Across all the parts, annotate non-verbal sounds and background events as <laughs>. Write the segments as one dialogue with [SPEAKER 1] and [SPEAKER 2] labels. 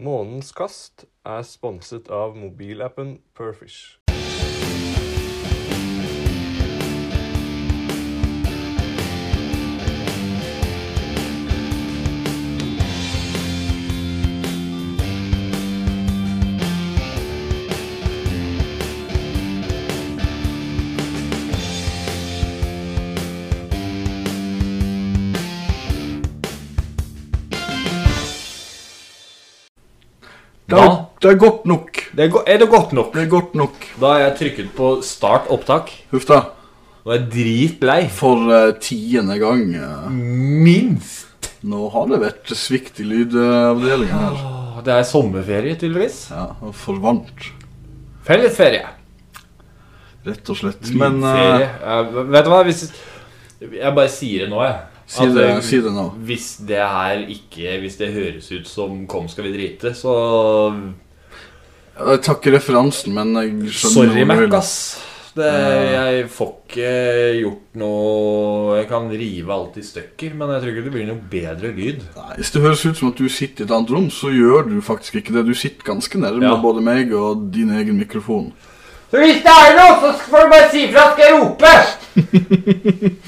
[SPEAKER 1] Månens kast er sponset av mobilappen Perfish.
[SPEAKER 2] Det er,
[SPEAKER 3] Da-
[SPEAKER 2] det er godt nok.
[SPEAKER 3] Det er, go er det godt nok?
[SPEAKER 2] Det er godt nok.
[SPEAKER 3] Da har jeg trykket på start opptak.
[SPEAKER 2] Huff da.
[SPEAKER 3] Nå er jeg dritlei.
[SPEAKER 2] For eh, tiende gang eh,
[SPEAKER 3] Minst!
[SPEAKER 2] Nå har det vært svikt i lydavdelingen her.
[SPEAKER 3] Åh, Det er sommerferie, tydeligvis.
[SPEAKER 2] Ja, og forvant.
[SPEAKER 3] Fellesferie.
[SPEAKER 2] Rett og slett. Men
[SPEAKER 3] Lydferie.
[SPEAKER 2] eh,
[SPEAKER 3] Eh, vet du hva? Hvis, jeg bare sier det nå, jeg.
[SPEAKER 2] si,
[SPEAKER 3] At,
[SPEAKER 2] det,
[SPEAKER 3] eh,
[SPEAKER 2] si det nå.
[SPEAKER 3] Hvis det her ikke Hvis det høres ut som 'Kom, skal vi drite', så
[SPEAKER 2] Jeg takker referansen, men jeg skjønner
[SPEAKER 3] Sorry,
[SPEAKER 2] hvor du vil.
[SPEAKER 3] Mac, ass. Det, jeg får ikke gjort noe Jeg kan rive alt i stykker, men jeg tror ikke det blir noe bedre lyd.
[SPEAKER 2] Nei, Hvis det høres ut som at du sitter i et annet rom, så gjør du faktisk ikke det. Du sitter ganske nærme
[SPEAKER 3] Ja.
[SPEAKER 2] både meg og din egen mikrofon.
[SPEAKER 3] Så hvis det er noe, så får du bare si ifra, skal jeg rope!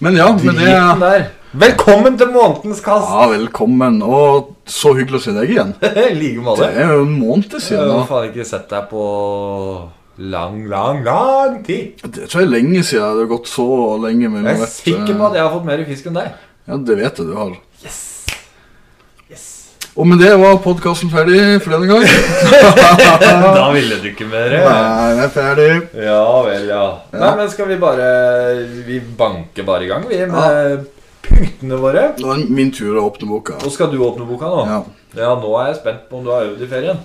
[SPEAKER 2] Men ja, med det
[SPEAKER 3] Driten der. Velkommen til månedens kast!
[SPEAKER 2] Ja, velkommen. Og så hyggelig å se deg igjen.
[SPEAKER 3] I <laughs> like
[SPEAKER 2] Det
[SPEAKER 3] måte.
[SPEAKER 2] er jo en måned
[SPEAKER 3] Jeg
[SPEAKER 2] siden. nå.
[SPEAKER 3] har faen ikke sett deg på lang, lang, lang tid.
[SPEAKER 2] Det tror jeg er lenge siden. Det har gått så lenge mellom
[SPEAKER 3] Jeg er
[SPEAKER 2] hvert,
[SPEAKER 3] sikker
[SPEAKER 2] eh,
[SPEAKER 3] på at jeg har fått mer fisk enn deg.
[SPEAKER 2] Ja, det vet jeg du har.
[SPEAKER 3] Yes! Yes!
[SPEAKER 2] Og med det var podkasten ferdig for denne gang.
[SPEAKER 3] <laughs> Da ville du ikke mer.
[SPEAKER 2] Nei, den er ferdig.
[SPEAKER 3] Ja vel, ja. Nei, men skal vi bare Vi banker bare i gang, vi, med punktene våre.
[SPEAKER 2] Nå er det min tur å åpne boka.
[SPEAKER 3] Nå skal du åpne boka nå.
[SPEAKER 2] Ja.
[SPEAKER 3] Ja, nå er jeg spent på om du har øvd i ferien.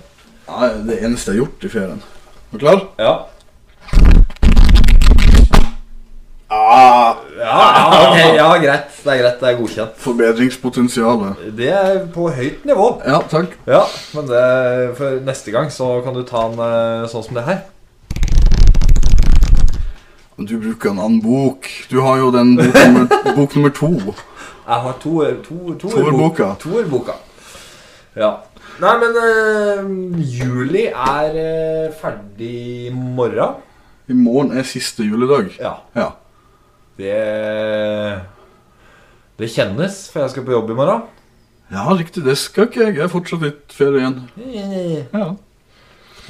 [SPEAKER 2] Ja, det er det eneste jeg har gjort i ferien. Er du klar?
[SPEAKER 3] Ja.
[SPEAKER 2] Ah,
[SPEAKER 3] Ja, ja, ok, ja, greit. Det er greit. Det er godkjent.
[SPEAKER 2] forbedringspotensialet.
[SPEAKER 3] Det er på høyt nivå.
[SPEAKER 2] Ja, takk.
[SPEAKER 3] Ja, men det, for neste gang så kan du ta den eh, sånn som det her.
[SPEAKER 2] Men Du bruker en annen bok. Du har jo den bok
[SPEAKER 3] <laughs>
[SPEAKER 2] nummer, bok nummer to.
[SPEAKER 3] Jeg har to, to, to
[SPEAKER 2] Toerboka.
[SPEAKER 3] Toerboka. Ja. Nei, men eh, juli er eh, ferdig i morgen.
[SPEAKER 2] I morgen er siste juledag.
[SPEAKER 3] Ja.
[SPEAKER 2] Ja.
[SPEAKER 3] Det Det kjennes, for jeg skal på jobb i morgen.
[SPEAKER 2] Ja, riktig. Det skal ikke jeg. Jeg er fortsatt litt ferie igjen.
[SPEAKER 3] Ja,
[SPEAKER 2] Ja.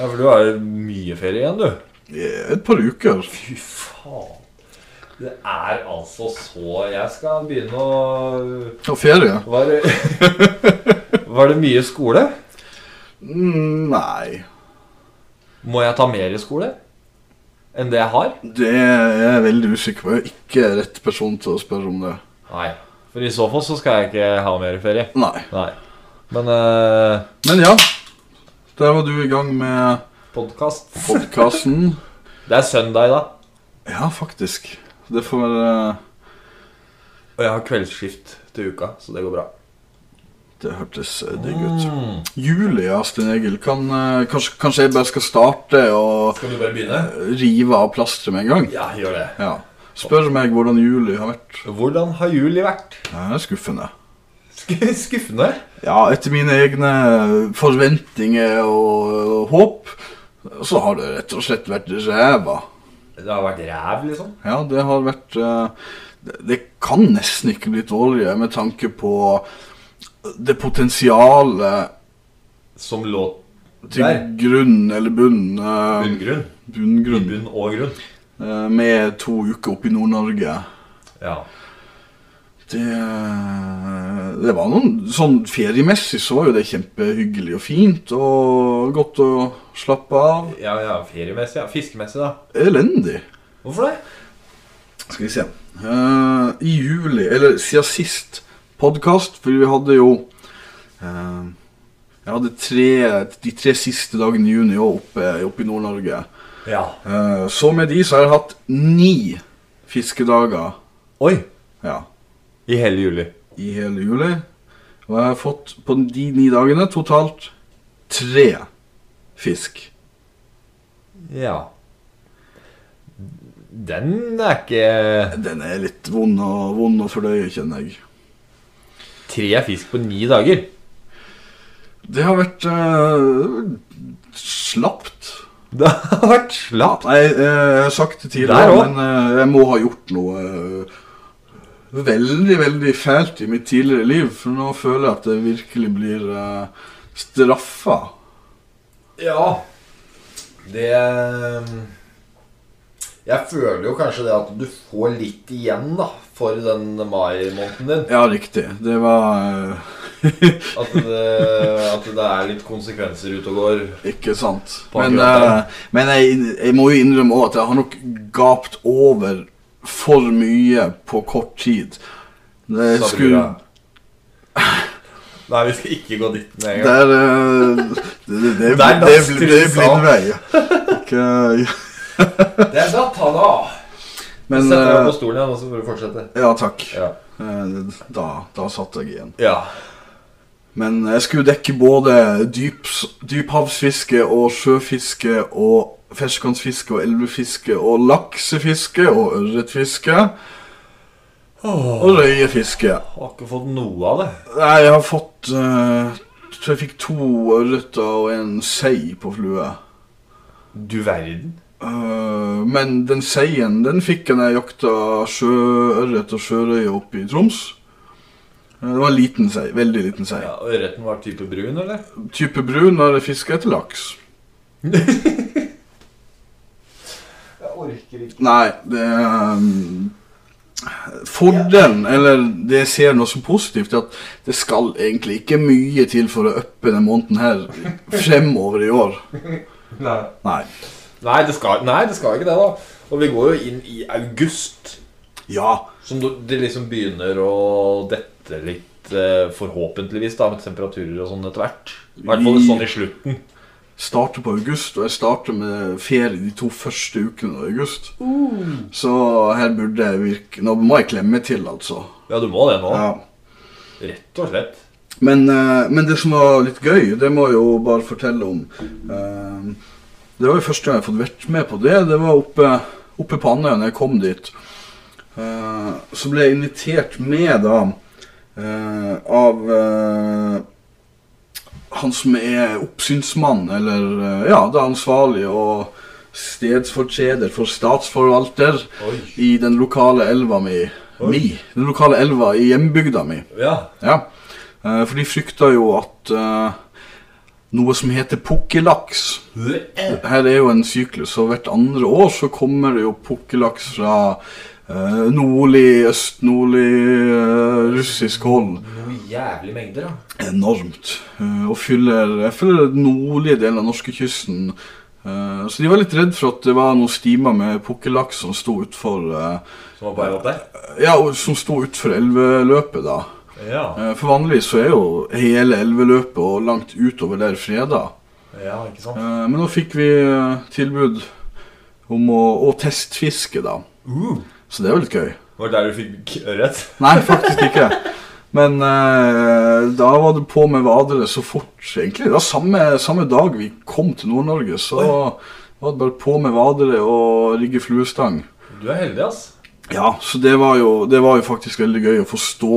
[SPEAKER 3] for du har mye ferie igjen, du.
[SPEAKER 2] Et par uker.
[SPEAKER 3] Fy faen. Det er altså så Jeg skal begynne å
[SPEAKER 2] Og ferie?
[SPEAKER 3] Var det, var det mye skole?
[SPEAKER 2] Mm, Nei.
[SPEAKER 3] Må jeg ta mer i skole enn det jeg har?
[SPEAKER 2] Det er jeg veldig usikker på. Jeg er ikke rett person til å spørre om det.
[SPEAKER 3] Nei. For i så fall så skal jeg ikke ha mer ferie.
[SPEAKER 2] Nei.
[SPEAKER 3] Nei. Men eh,
[SPEAKER 2] Men ja, der var du i gang med
[SPEAKER 3] podkast
[SPEAKER 2] podkasten.
[SPEAKER 3] Det er søndag, da.
[SPEAKER 2] <laughs> Ja, faktisk. Det får være
[SPEAKER 3] Og jeg har kveldsskift til uka, så det går bra. Hmm.
[SPEAKER 2] Det hørtes eh, digg ut. Julia, Sten Egil, kan, eh, kanskje, kanskje jeg bare skal starte og
[SPEAKER 3] Skal du bare begynne?
[SPEAKER 2] rive av plasteret med en gang?
[SPEAKER 3] Ja, gjør det.
[SPEAKER 2] Ja. Spør meg hvordan juli har vært.
[SPEAKER 3] Hvordan har juli vært?
[SPEAKER 2] Det er skuffende.
[SPEAKER 3] Sk- <laughs> Skuffende.
[SPEAKER 2] Ja, etter mine egne forventninger og, og håp, så har det rett og slett vært ræva.
[SPEAKER 3] Det har vært ræv, liksom.
[SPEAKER 2] Ja, det har vært eh, Det det kan nesten ikke bli dårligere med tanke på det potensialet
[SPEAKER 3] Som lå
[SPEAKER 2] til
[SPEAKER 3] Der.
[SPEAKER 2] grunn eller bunn eh,
[SPEAKER 3] bunngrunn.
[SPEAKER 2] Bunngrunn.
[SPEAKER 3] Bunn og grunn.
[SPEAKER 2] eh, med to uker oppe i Nord-Norge.
[SPEAKER 3] Ja.
[SPEAKER 2] Det, det var noen Sånn feriemessig så var jo det kjempehyggelig og fint og godt å slappe av.
[SPEAKER 3] ja, ja feriemessig, ja. Fiskemessig, da.
[SPEAKER 2] Elendig.
[SPEAKER 3] Hvorfor det?
[SPEAKER 2] Skal vi se. Eh, I juli, eller siden sist podkast, for vi hadde jo eh, Jeg hadde tre, de tre siste dagene i juni også oppe, oppe i Nord-Norge.
[SPEAKER 3] Ja.
[SPEAKER 2] Eh, så med de så har jeg hatt ni fiskedager
[SPEAKER 3] Oi.
[SPEAKER 2] ja,
[SPEAKER 3] I hele juli.
[SPEAKER 2] i hele juli. Og jeg har fått på de ni dagene totalt tre fisk.
[SPEAKER 3] Ja. Den er ikke
[SPEAKER 2] Den er litt vond å- vond å fordøye, kjenner jeg.
[SPEAKER 3] Tre fisk på ni dager.
[SPEAKER 2] Det har vært eh, slapt.
[SPEAKER 3] <laughs> Det har vært slapt.
[SPEAKER 2] Nei, eh, jeg har sagt det
[SPEAKER 3] Der
[SPEAKER 2] tidligere,
[SPEAKER 3] også.
[SPEAKER 2] men eh, jeg må ha gjort noe eh, veldig, veldig fælt i mitt tidligere liv. For nå føler jeg at jeg virkelig blir uh, straffa.
[SPEAKER 3] Ja. Det eh, Jeg føler jo kanskje det at du får litt igjen da for den mai-måneden din.
[SPEAKER 2] Ja, riktig. Det var eh,
[SPEAKER 3] At det, at det er litt konsekvenser ute og går.
[SPEAKER 2] ikke sant.
[SPEAKER 3] På
[SPEAKER 2] Men,
[SPEAKER 3] akkurat
[SPEAKER 2] eh, men jeg, jeg må jo innrømme òg at jeg har nok gapt over for mye på kort tid. Det
[SPEAKER 3] sa
[SPEAKER 2] skulle
[SPEAKER 3] brura. Nei, vi skal ikke gå dit med en gang.
[SPEAKER 2] Der eh, Det, det, det,
[SPEAKER 3] <laughs> Der da
[SPEAKER 2] det, det, det, det
[SPEAKER 3] strusa.
[SPEAKER 2] blir en vei.
[SPEAKER 3] <laughs>
[SPEAKER 2] Ikke,
[SPEAKER 3] Det er datt, han av!
[SPEAKER 2] Men
[SPEAKER 3] Sett deg opp
[SPEAKER 2] eh,
[SPEAKER 3] på stolen igjen, og så får du fortsette.
[SPEAKER 2] Ja, takk.
[SPEAKER 3] Ja.
[SPEAKER 2] Eh, Da, da satt jeg igjen.
[SPEAKER 3] ja.
[SPEAKER 2] Men jeg skulle dekke både dyps, dyphavsfiske og sjøfiske og ferskvannsfiske og elvefiske og laksefiske og ørretfiske
[SPEAKER 3] Åh,
[SPEAKER 2] og røyefiske.
[SPEAKER 3] har ikke fått noe av det.
[SPEAKER 2] Nei, jeg har fått eh, Tror jeg fikk to ørreter og en sei på flue.
[SPEAKER 3] Du verden.
[SPEAKER 2] Eh, men den seien den fikk jeg når jeg jakta sjøørret og sjørøye oppe i Troms. Eh, Det var en liten sei. Veldig liten sei.
[SPEAKER 3] Ja, og Ørreten var type brun, eller?
[SPEAKER 2] type brun når jeg fisker etter laks.
[SPEAKER 3] Jeg orker ikke.
[SPEAKER 2] Nei, det um, Fordelen, eller det jeg ser nå som positivt, er at det skal egentlig ikke mye til for å uppe den måneden her fremover i år.
[SPEAKER 3] Nei.
[SPEAKER 2] Nei.
[SPEAKER 3] Nei det, skal, nei, det skal ikke det, da. Og vi går jo inn i august,
[SPEAKER 2] Ja.
[SPEAKER 3] som du- det liksom begynner å dette litt, eh, forhåpentligvis, da, med temperaturer og sånn etter hvert. I hvert fall sånn i slutten.
[SPEAKER 2] Starter på august, og jeg starter med ferie de to første ukene av august. Så her burde jeg virke Nå må jeg klemme til, altså.
[SPEAKER 3] Ja, du må det nå.
[SPEAKER 2] Ja.
[SPEAKER 3] Rett og slett.
[SPEAKER 2] Men, eh, men det som var litt gøy, det må jeg jo bare fortelle om. Eh, det var jo første gang jeg har fått vært med på det. Det var oppe, oppe på Andøya når jeg kom dit. Eh, så ble jeg invitert med da eh, av eh, han som er oppsynsmann, eller eh, ja, det er ansvarlig og stedsfortreder for statsforvalter
[SPEAKER 3] Oi.
[SPEAKER 2] i den lokale elva mi.
[SPEAKER 3] Oi.
[SPEAKER 2] mi den lokale elva i hjembygda mi.
[SPEAKER 3] Ja.
[SPEAKER 2] Ja, eh, for de frykter jo at eh, noe som heter pukkellaks Her er jo en syklus, og hvert andre år så kommer det jo pukkellaks fra eh, nordlig, østnordlig, eh, russisk hold.
[SPEAKER 3] Noe jævlig mengder, da.
[SPEAKER 2] Enormt. eh, og fyller, jeg føler den nordlige delen av norskekysten. Eh, så de var litt redd for at det var noen stimer med pukkellaks som sto utfor eh,
[SPEAKER 3] Som var på vei opp der.
[SPEAKER 2] Ja, og som sto utfor elveløpet, da.
[SPEAKER 3] Ja.
[SPEAKER 2] Eh, For vanligvis så er jo hele elveløpet og langt utover der freda.
[SPEAKER 3] ja, ikke sant?
[SPEAKER 2] Eh, Men nå fikk vi eh, tilbud om å, å testfiske, da.
[SPEAKER 3] Uh,
[SPEAKER 2] Så det var litt gøy.
[SPEAKER 3] var det der du fikk ørret?
[SPEAKER 2] Nei, faktisk ikke. Men eh, da var det på med vadere så fort, egentlig. Det var samme, samme dag vi kom til Nord-Norge, så var det bare på med vadere og rigge fluestang.
[SPEAKER 3] Du er heldig, ass.
[SPEAKER 2] Ja, så det var, jo, det var jo faktisk veldig gøy å få stå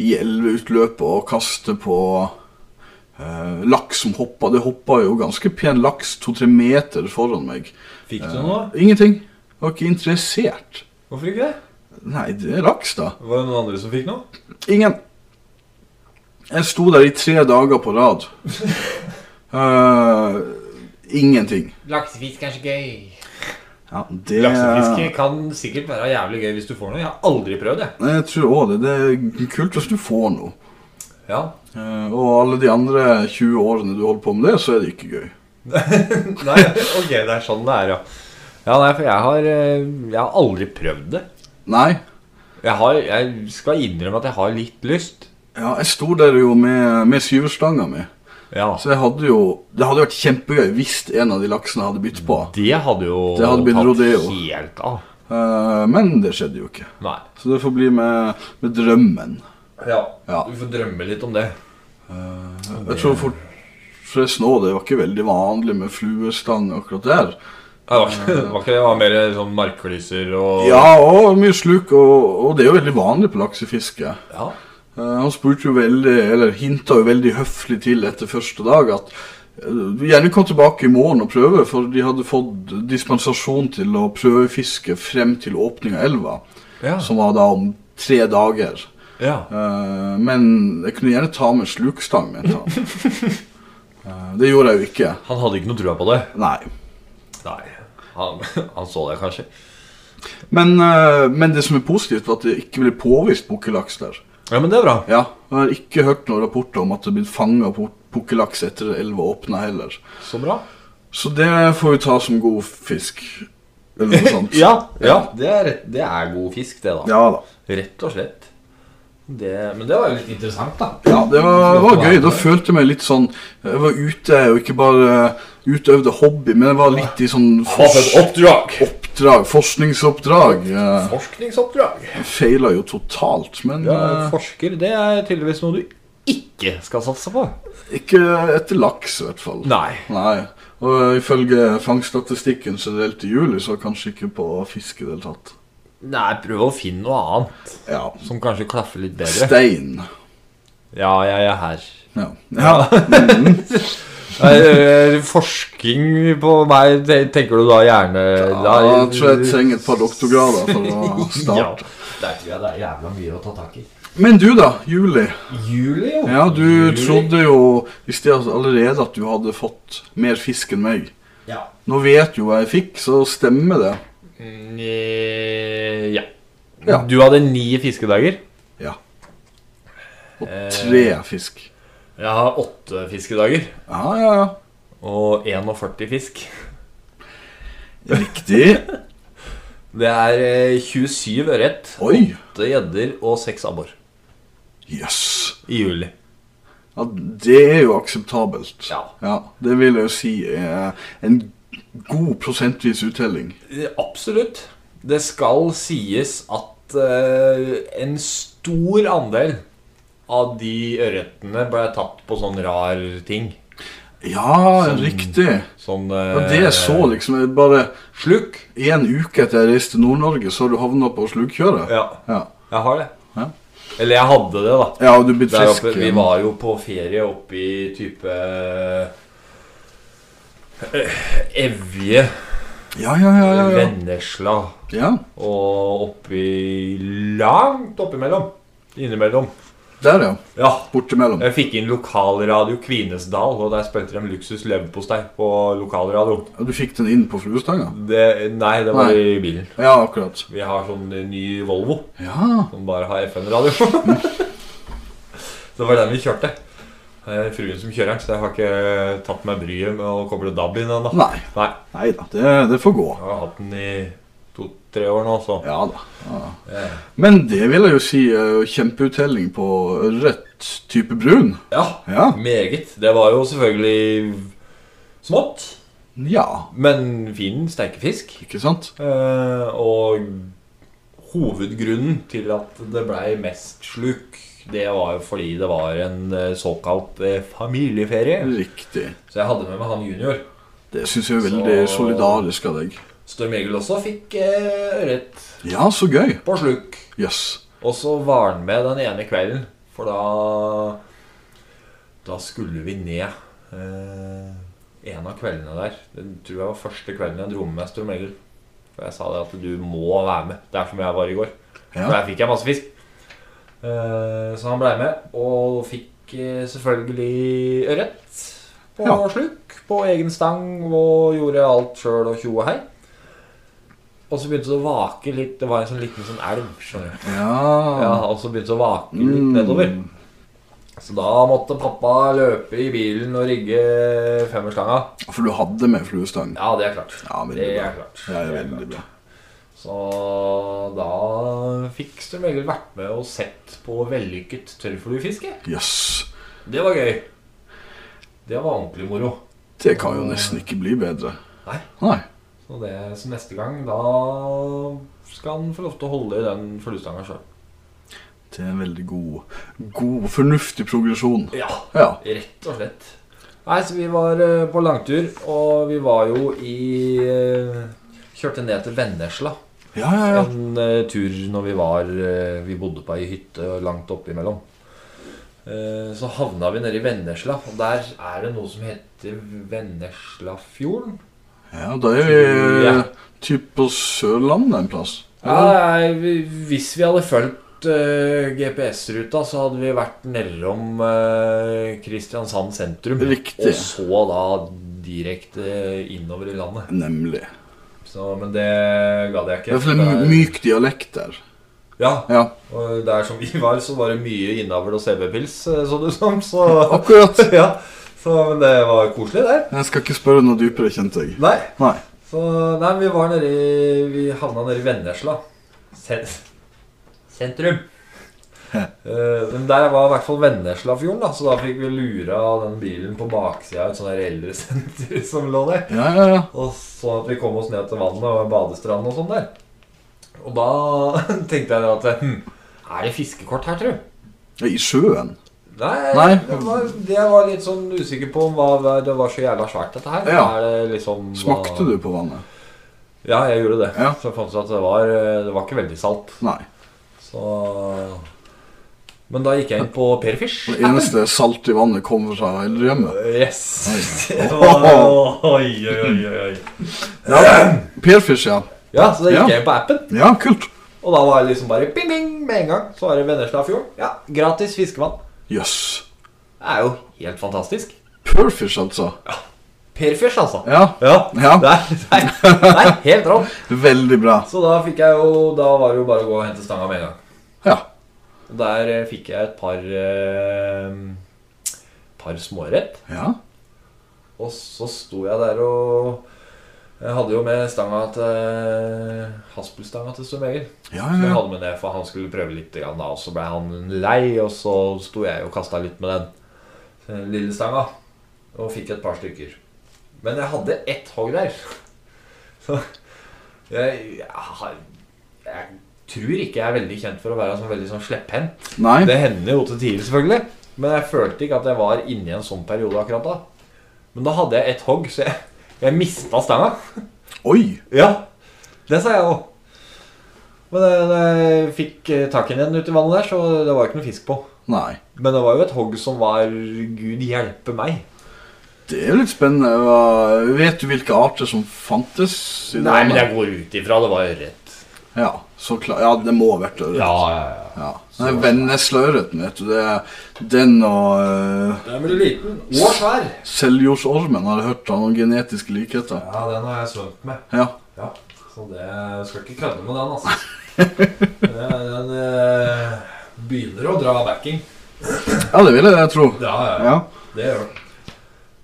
[SPEAKER 2] i elveutløpet og kaste på eh, laks som hoppa. Det hoppa jo ganske pen laks to-tre meter foran meg.
[SPEAKER 3] Fikk du noe?
[SPEAKER 2] Ingenting. Jeg var ikke interessert.
[SPEAKER 3] Hvorfor ikke det?
[SPEAKER 2] Nei, det er laks, da.
[SPEAKER 3] Var det noen andre som fikk noe?
[SPEAKER 2] Ingen. Jeg sto der i tre dager på rad. Eh, ingenting.
[SPEAKER 3] Laksefisk er så gøy.
[SPEAKER 2] Ja, det
[SPEAKER 3] Laksefiske kan sikkert være jævlig gøy hvis du får noe. Jeg har aldri prøvd det.
[SPEAKER 2] Jeg tror òg det. Det er kult hvis du får noe.
[SPEAKER 3] Ja.
[SPEAKER 2] Eh, Og alle de andre 20 årene du holder på med det, så er det ikke gøy.
[SPEAKER 3] Nei, ok, det er sånn det er, ja. Ja, nei, for jeg har, eh, jeg har aldri prøvd det.
[SPEAKER 2] Nei.
[SPEAKER 3] Jeg, har, jeg skal innrømme at jeg har litt lyst.
[SPEAKER 2] Ja, jeg sto der jo med, med syverstanga mi,
[SPEAKER 3] Ja, altså,
[SPEAKER 2] så jeg hadde jo Det hadde vært kjempegøy hvis en av de laksene hadde bytt på.
[SPEAKER 3] Det hadde jo
[SPEAKER 2] Det hadde blitt
[SPEAKER 3] tatt
[SPEAKER 2] rodeo.
[SPEAKER 3] helt av.
[SPEAKER 2] Eh, men det skjedde jo ikke.
[SPEAKER 3] Nei.
[SPEAKER 2] Så det får bli med, med drømmen.
[SPEAKER 3] Ja,
[SPEAKER 2] Ja.
[SPEAKER 3] du får drømme litt om det.
[SPEAKER 2] Jeg tror fort, forresten òg det var ikke veldig vanlig med fluestang akkurat der.
[SPEAKER 3] Nei, Det var ikke det, var ikke det, det var mer sånn markklyser og
[SPEAKER 2] Ja, og mye sluk, og, og det er jo veldig vanlig på laksefiske.
[SPEAKER 3] ja.
[SPEAKER 2] Eh, Eh, han spurte jo veldig, eller hinta jo veldig høflig til etter første dag at eh, du gjerne kom tilbake i morgen og prøve, for de hadde fått dispensasjon til å prøvefiske frem til åpning av elva,
[SPEAKER 3] Ja.
[SPEAKER 2] som var da om tre dager.
[SPEAKER 3] ja.
[SPEAKER 2] Eh, men jeg kunne gjerne ta med slukstang, mente han. Eh, det gjorde jeg jo ikke.
[SPEAKER 3] Han hadde ikke noe trua på det.
[SPEAKER 2] Nei.
[SPEAKER 3] Nei. Han, han så det kanskje.
[SPEAKER 2] Men, eh, men det som er positivt, var at det ikke ble påvist pukkellaks der.
[SPEAKER 3] Ja, men det er bra.
[SPEAKER 2] Ja, Jeg har ikke hørt noen rapporter om at det er blitt fanga pukkellaks etter at elva åpna heller.
[SPEAKER 3] Så bra.
[SPEAKER 2] Så det får vi ta som god fisk. Eller
[SPEAKER 3] <laughs>
[SPEAKER 2] noe sånt.
[SPEAKER 3] Ja, ja det, er, det er god fisk, det, da.
[SPEAKER 2] Ja da.
[SPEAKER 3] Rett og slett. Det, men det var jo litt interessant, da.
[SPEAKER 2] Ja, det var, var gøy. Da følte jeg meg litt sånn Jeg var ute og ikke bare utøvde hobby, men jeg var litt i sånn
[SPEAKER 3] Ah,
[SPEAKER 2] fors
[SPEAKER 3] oppdrag!
[SPEAKER 2] oppdrag, forskningsoppdrag. Eh,
[SPEAKER 3] Forskningsoppdrag.
[SPEAKER 2] Jeg feila jo totalt, men
[SPEAKER 3] Ja,
[SPEAKER 2] eh,
[SPEAKER 3] forsker, det er tydeligvis noe du ikke skal satse på.
[SPEAKER 2] ikke etter laks, i hvert fall.
[SPEAKER 3] Nei.
[SPEAKER 2] Nei. Og eh, ifølge fangststatistikken generelt i juli, så kanskje ikke på fisk i det hele tatt.
[SPEAKER 3] Nei, prøv å finne noe annet
[SPEAKER 2] Ja.
[SPEAKER 3] som kanskje klaffer litt bedre.
[SPEAKER 2] Stein.
[SPEAKER 3] Ja, jeg er her.
[SPEAKER 2] Ja. ja.
[SPEAKER 3] Eh, Forskning på meg, te- tenker du da gjerne
[SPEAKER 2] Da tror jeg jeg trenger et par doktorgrader for
[SPEAKER 3] <laughs>
[SPEAKER 2] å starte.
[SPEAKER 3] Der tror jeg det er jævla mye å ta tak i.
[SPEAKER 2] Men du, da. Juli.
[SPEAKER 3] Juli, jo.
[SPEAKER 2] Ja, du
[SPEAKER 3] Juli.
[SPEAKER 2] trodde jo i stedet allerede at du hadde fått mer fisk enn meg.
[SPEAKER 3] Ja.
[SPEAKER 2] Nå vet jo hva jeg fikk, så stemmer det.
[SPEAKER 3] Mm, eh, ja.
[SPEAKER 2] Ja.
[SPEAKER 3] Du hadde ni fiskedager. Eh,
[SPEAKER 2] Ja. Og tre fisk.
[SPEAKER 3] Jeg har åtte fiskedager.
[SPEAKER 2] Ja, ja, ja.
[SPEAKER 3] Og 41 fisk.
[SPEAKER 2] Riktig.
[SPEAKER 3] Det er eh, 27 ørret,
[SPEAKER 2] Oi.
[SPEAKER 3] åtte gjedder og seks abbor
[SPEAKER 2] Jøss. Yes.
[SPEAKER 3] i juli.
[SPEAKER 2] Ja, det er jo akseptabelt.
[SPEAKER 3] Ja.
[SPEAKER 2] Det vil jeg jo si er en god prosentvis uttelling.
[SPEAKER 3] Eh, Absolutt. Det skal sies at eh, en stor andel av de ørretene ble tatt på sånn rar ting.
[SPEAKER 2] Ja, riktig.
[SPEAKER 3] Sånn
[SPEAKER 2] Og det jeg så liksom jeg bare
[SPEAKER 3] Slukk.
[SPEAKER 2] En uke etter jeg reiste til Nord-Norge, så har du havna på slukkjøret?
[SPEAKER 3] Ja,
[SPEAKER 2] Ja.
[SPEAKER 3] jeg har det.
[SPEAKER 2] Ja.
[SPEAKER 3] Eller jeg hadde det, da.
[SPEAKER 2] ja, og du er blitt
[SPEAKER 3] Der
[SPEAKER 2] frisk.
[SPEAKER 3] oppe, vi
[SPEAKER 2] igjen.
[SPEAKER 3] var jo på ferie oppe i type eh, Evje,
[SPEAKER 2] Ja, ja, ja. ja, ja.
[SPEAKER 3] Vennesla
[SPEAKER 2] ja.
[SPEAKER 3] og oppi Langt oppimellom. Innimellom.
[SPEAKER 2] Der, ja.
[SPEAKER 3] Ja,
[SPEAKER 2] Bortimellom.
[SPEAKER 3] Jeg fikk inn lokalradio Kvinesdal, og der spilte de luksus leverpostei på lokalradio.
[SPEAKER 2] Ja, Du fikk den inn på fluestanga?
[SPEAKER 3] Det, nei, det var
[SPEAKER 2] Nei.
[SPEAKER 3] i bilen.
[SPEAKER 2] Ja, akkurat.
[SPEAKER 3] Vi har sånn ny Volvo
[SPEAKER 2] Ja.
[SPEAKER 3] som bare har FN-radio. <laughs> så det var den vi kjørte. Det er fruen som kjører den, så jeg har ikke tatt meg bryet med å koble DAB inn ennå.
[SPEAKER 2] Nei.
[SPEAKER 3] Nei.
[SPEAKER 2] Nei da, det, det får gå.
[SPEAKER 3] Jeg har hatt den i to-tre år nå, så
[SPEAKER 2] Ja da. Ja.
[SPEAKER 3] Eh.
[SPEAKER 2] Men det vil jeg jo si er jo kjempeuttelling på rødt type brun.
[SPEAKER 3] Ja.
[SPEAKER 2] Ja.
[SPEAKER 3] Meget. Det var jo selvfølgelig smått,
[SPEAKER 2] Ja,
[SPEAKER 3] men fin steikefisk.
[SPEAKER 2] ikke sant?
[SPEAKER 3] Eh, og hovedgrunnen til at det blei mest sluk, det var jo fordi det var en eh, såkalt eh, familieferie.
[SPEAKER 2] Mm. Riktig.
[SPEAKER 3] Så jeg hadde med meg han junior.
[SPEAKER 2] Det syns jeg er veldig
[SPEAKER 3] Så-
[SPEAKER 2] solidarisk av deg.
[SPEAKER 3] Storm Egil også fikk eh, ørret
[SPEAKER 2] Ja, så gøy.
[SPEAKER 3] på sluk.
[SPEAKER 2] Jøss. Yes.
[SPEAKER 3] Og så var han med den ene kvelden, for da Da skulle vi ned. Eh, en av kveldene der. Det tror jeg var første kvelden jeg dro med meg Storm Egil. For jeg sa det at du må være med. Det er som jeg var i går.
[SPEAKER 2] Ja.
[SPEAKER 3] For der fikk jeg masse fisk. Eh, så han blei med, og fikk eh, selvfølgelig ørret på
[SPEAKER 2] Ja.
[SPEAKER 3] sluk, på egen stang, og gjorde alt sjøl og tjo og hei. Og så begynte det å vake litt. Det var en sånn liten sånn elv. skjønner du. Ja,
[SPEAKER 2] Ja.
[SPEAKER 3] Og så begynte det å vake litt
[SPEAKER 2] Mm.
[SPEAKER 3] nedover. Så da måtte pappa løpe i bilen og rigge femmerstanga.
[SPEAKER 2] For du hadde med fluestang?
[SPEAKER 3] Ja, det er klart.
[SPEAKER 2] Ja, veldig
[SPEAKER 3] det
[SPEAKER 2] bra.
[SPEAKER 3] er klart.
[SPEAKER 2] Ja,
[SPEAKER 3] Det er
[SPEAKER 2] veldig bra.
[SPEAKER 3] Så da fikk Strøm Egil vært med og sett på vellykket tørrfluefiske.
[SPEAKER 2] Jøss.
[SPEAKER 3] Det var gøy. Det var ordentlig moro.
[SPEAKER 2] Det kan jo nesten ikke bli bedre.
[SPEAKER 3] Nei.
[SPEAKER 2] Nei.
[SPEAKER 3] Så, det, så neste gang, da skal han få lov til å holde i den fluestanga sjøl.
[SPEAKER 2] Det er en veldig god, god fornuftig progresjon.
[SPEAKER 3] Ja,
[SPEAKER 2] Ja.
[SPEAKER 3] rett og slett. Nei, så vi var eh, på langtur, og vi var jo i eh, Kjørte ned til Vennesla.
[SPEAKER 2] Ja, ja, ja.
[SPEAKER 3] En eh, tur når vi var eh, Vi bodde på ei hytte langt oppimellom. Eh, Så havna vi nede i Vennesla, og der er det noe som heter Venneslafjorden.
[SPEAKER 2] Ja, da er vi
[SPEAKER 3] Ja.
[SPEAKER 2] typ på Sørlandet en plass. Eller?
[SPEAKER 3] Ja, nei, vi- hvis vi hadde fulgt eh, GPS-ruta, så hadde vi vært nedom eh, Kristiansand sentrum.
[SPEAKER 2] Riktig.
[SPEAKER 3] Og så da direkte innover i landet.
[SPEAKER 2] Nemlig.
[SPEAKER 3] Så, men det gadd jeg
[SPEAKER 2] Det
[SPEAKER 3] ikke.
[SPEAKER 2] er for en myk dialekt der.
[SPEAKER 3] Ja,
[SPEAKER 2] Ja,
[SPEAKER 3] og der som vi var, så var det mye innavl og CB-pils, eh, så det ut som. Så,
[SPEAKER 2] akkurat.
[SPEAKER 3] <laughs> ja. så men det var koselig, det.
[SPEAKER 2] Jeg skal ikke spørre noe dypere, kjente jeg.
[SPEAKER 3] Nei.
[SPEAKER 2] Nei.
[SPEAKER 3] Så nei, men vi var nede i Vi havna nede i Vennesla. Sen
[SPEAKER 2] <laughs>
[SPEAKER 3] sentrum. Eh, men der var i hvert fall Venneslafjorden, da, så da fikk vi lura den bilen på baksida av et sånt der <laughs> eldresenter som lå der.
[SPEAKER 2] Ja, ja, ja.
[SPEAKER 3] Og så at vi kom oss ned til vannet og badestranden og sånn der. Og da <laughs> tenkte jeg da at hm, Er det fiskekort her, tru?
[SPEAKER 2] Ja, I sjøen?
[SPEAKER 3] Nei,
[SPEAKER 2] Nei.
[SPEAKER 3] Det, var, jeg var litt sånn usikker på om hva det var så jævla svært, dette her.
[SPEAKER 2] Ja.
[SPEAKER 3] Er det liksom, hva-
[SPEAKER 2] Smakte du på vannet?
[SPEAKER 3] Ja, jeg gjorde det.
[SPEAKER 2] Ja.
[SPEAKER 3] Så jeg fant ut at det var, eh, det var ikke veldig salt.
[SPEAKER 2] Nei.
[SPEAKER 3] Så Men da gikk jeg inn på Perfish.
[SPEAKER 2] Det eneste salte i vannet kommer fra eldrehjemmet.
[SPEAKER 3] Yes!
[SPEAKER 2] Oi.
[SPEAKER 3] <laughs> Det var- Oi, oi, oi, oi.
[SPEAKER 2] Ja, Perfish, ja.
[SPEAKER 3] Ja, så da
[SPEAKER 2] Ja.
[SPEAKER 3] gikk jeg inn på appen,
[SPEAKER 2] Ja, kult.
[SPEAKER 3] og da var det liksom bare bing, bing med en gang. Så var det Venneslafjorden. Ja, gratis fiskevann.
[SPEAKER 2] Jøss.
[SPEAKER 3] Det er jo helt fantastisk.
[SPEAKER 2] Perfish, altså.
[SPEAKER 3] Perfish, altså.
[SPEAKER 2] Ja.
[SPEAKER 3] Ja.
[SPEAKER 2] Ja.
[SPEAKER 3] Det, er, det, er, det er helt rått.
[SPEAKER 2] Veldig bra.
[SPEAKER 3] Så da fikk jeg jo Da var det jo bare å gå og hente stanga med en gang.
[SPEAKER 2] Ja.
[SPEAKER 3] Og Der eh, fikk jeg et par eh, Par smårett.
[SPEAKER 2] Ja.
[SPEAKER 3] Og så sto jeg der og Jeg hadde jo med stanga til Haspelstanga til Stor Egil.
[SPEAKER 2] Ja,
[SPEAKER 3] Så jeg
[SPEAKER 2] ja.
[SPEAKER 3] hadde med det, for han skulle prøve litt, grann, da, og så ble han lei, og så sto jeg og kasta litt med den eh, lille stanga. Og fikk et par stykker. Men jeg hadde ett hogg der. <laughs> Så jeg, jeg, har- jeg tror ikke jeg er veldig kjent for å være sånn veldig sånn slepphendt.
[SPEAKER 2] Nei.
[SPEAKER 3] Det hender jo til tider, selvfølgelig. Men jeg følte ikke at jeg var inne i en sånn periode akkurat da. Men da hadde jeg et hogg, så jeg, jeg mista stanga.
[SPEAKER 2] Oi.
[SPEAKER 3] Ja, det sa jeg òg. Men jeg, jeg fikk eh, tak i den igjen ute i vannet der, så det var ikke noe fisk på.
[SPEAKER 2] Nei.
[SPEAKER 3] Men det var jo et hogg som var Gud hjelpe meg.
[SPEAKER 2] Det er litt spennende. Hva- Vet du hvilke arter som fantes? i det
[SPEAKER 3] Nei, men
[SPEAKER 2] vannet?
[SPEAKER 3] jeg går ut ifra det var ørret.
[SPEAKER 2] Ja, så klart. Ja, det må ha vært ørret.
[SPEAKER 3] Ja, ja, ja.
[SPEAKER 2] Ja. Nei, Venneslaørreten, vet du. Det er den og uh,
[SPEAKER 3] Den blir liten og svær.
[SPEAKER 2] seljordsormen har jeg hørt har noen genetiske likheter.
[SPEAKER 3] Ja, den har jeg svømt med.
[SPEAKER 2] Ja.
[SPEAKER 3] Ja, så det skal ikke kødde med
[SPEAKER 2] <laughs>
[SPEAKER 3] den, altså. Den, den eh, begynner å dra backing.
[SPEAKER 2] ja, det vil jeg, jeg tro.
[SPEAKER 3] Ja, ja,
[SPEAKER 2] Ja.
[SPEAKER 3] ja. Det gjør den.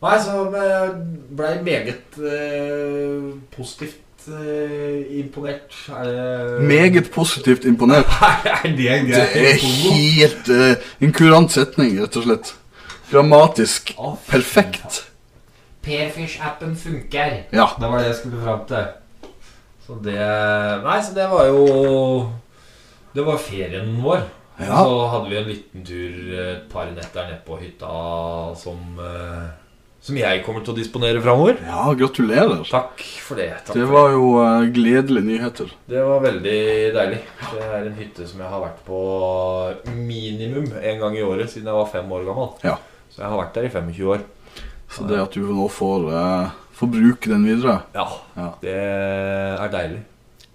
[SPEAKER 3] Nei, så jeg blei meget eh, positivt eh, imponert. Er det <laughs>
[SPEAKER 2] Meget positivt imponert.
[SPEAKER 3] Er det en
[SPEAKER 2] Det er
[SPEAKER 3] grei
[SPEAKER 2] helt eh, en kurant setning, rett og slett. Grammatisk perfekt.
[SPEAKER 3] Perfish-appen funker.
[SPEAKER 2] Ja.
[SPEAKER 3] Det var det jeg skulle fram til. Så det Nei, så det var jo Det var ferien vår.
[SPEAKER 2] Ja.
[SPEAKER 3] Så hadde vi en liten tur eh, et par netter nede på hytta som eh, Som jeg kommer til å disponere framover.
[SPEAKER 2] Ja, gratulerer.
[SPEAKER 3] Takk for det. Takk
[SPEAKER 2] Det
[SPEAKER 3] for
[SPEAKER 2] var jo eh, gledelige nyheter.
[SPEAKER 3] det. det var veldig deilig. Det er en hytte som jeg har vært på minimum én gang i året siden jeg var fem år gammel.
[SPEAKER 2] Ja.
[SPEAKER 3] Så jeg har vært der i 25 år.
[SPEAKER 2] Så det at du nå får, eh, får bruke den videre
[SPEAKER 3] Ja,
[SPEAKER 2] Ja.
[SPEAKER 3] Det er deilig.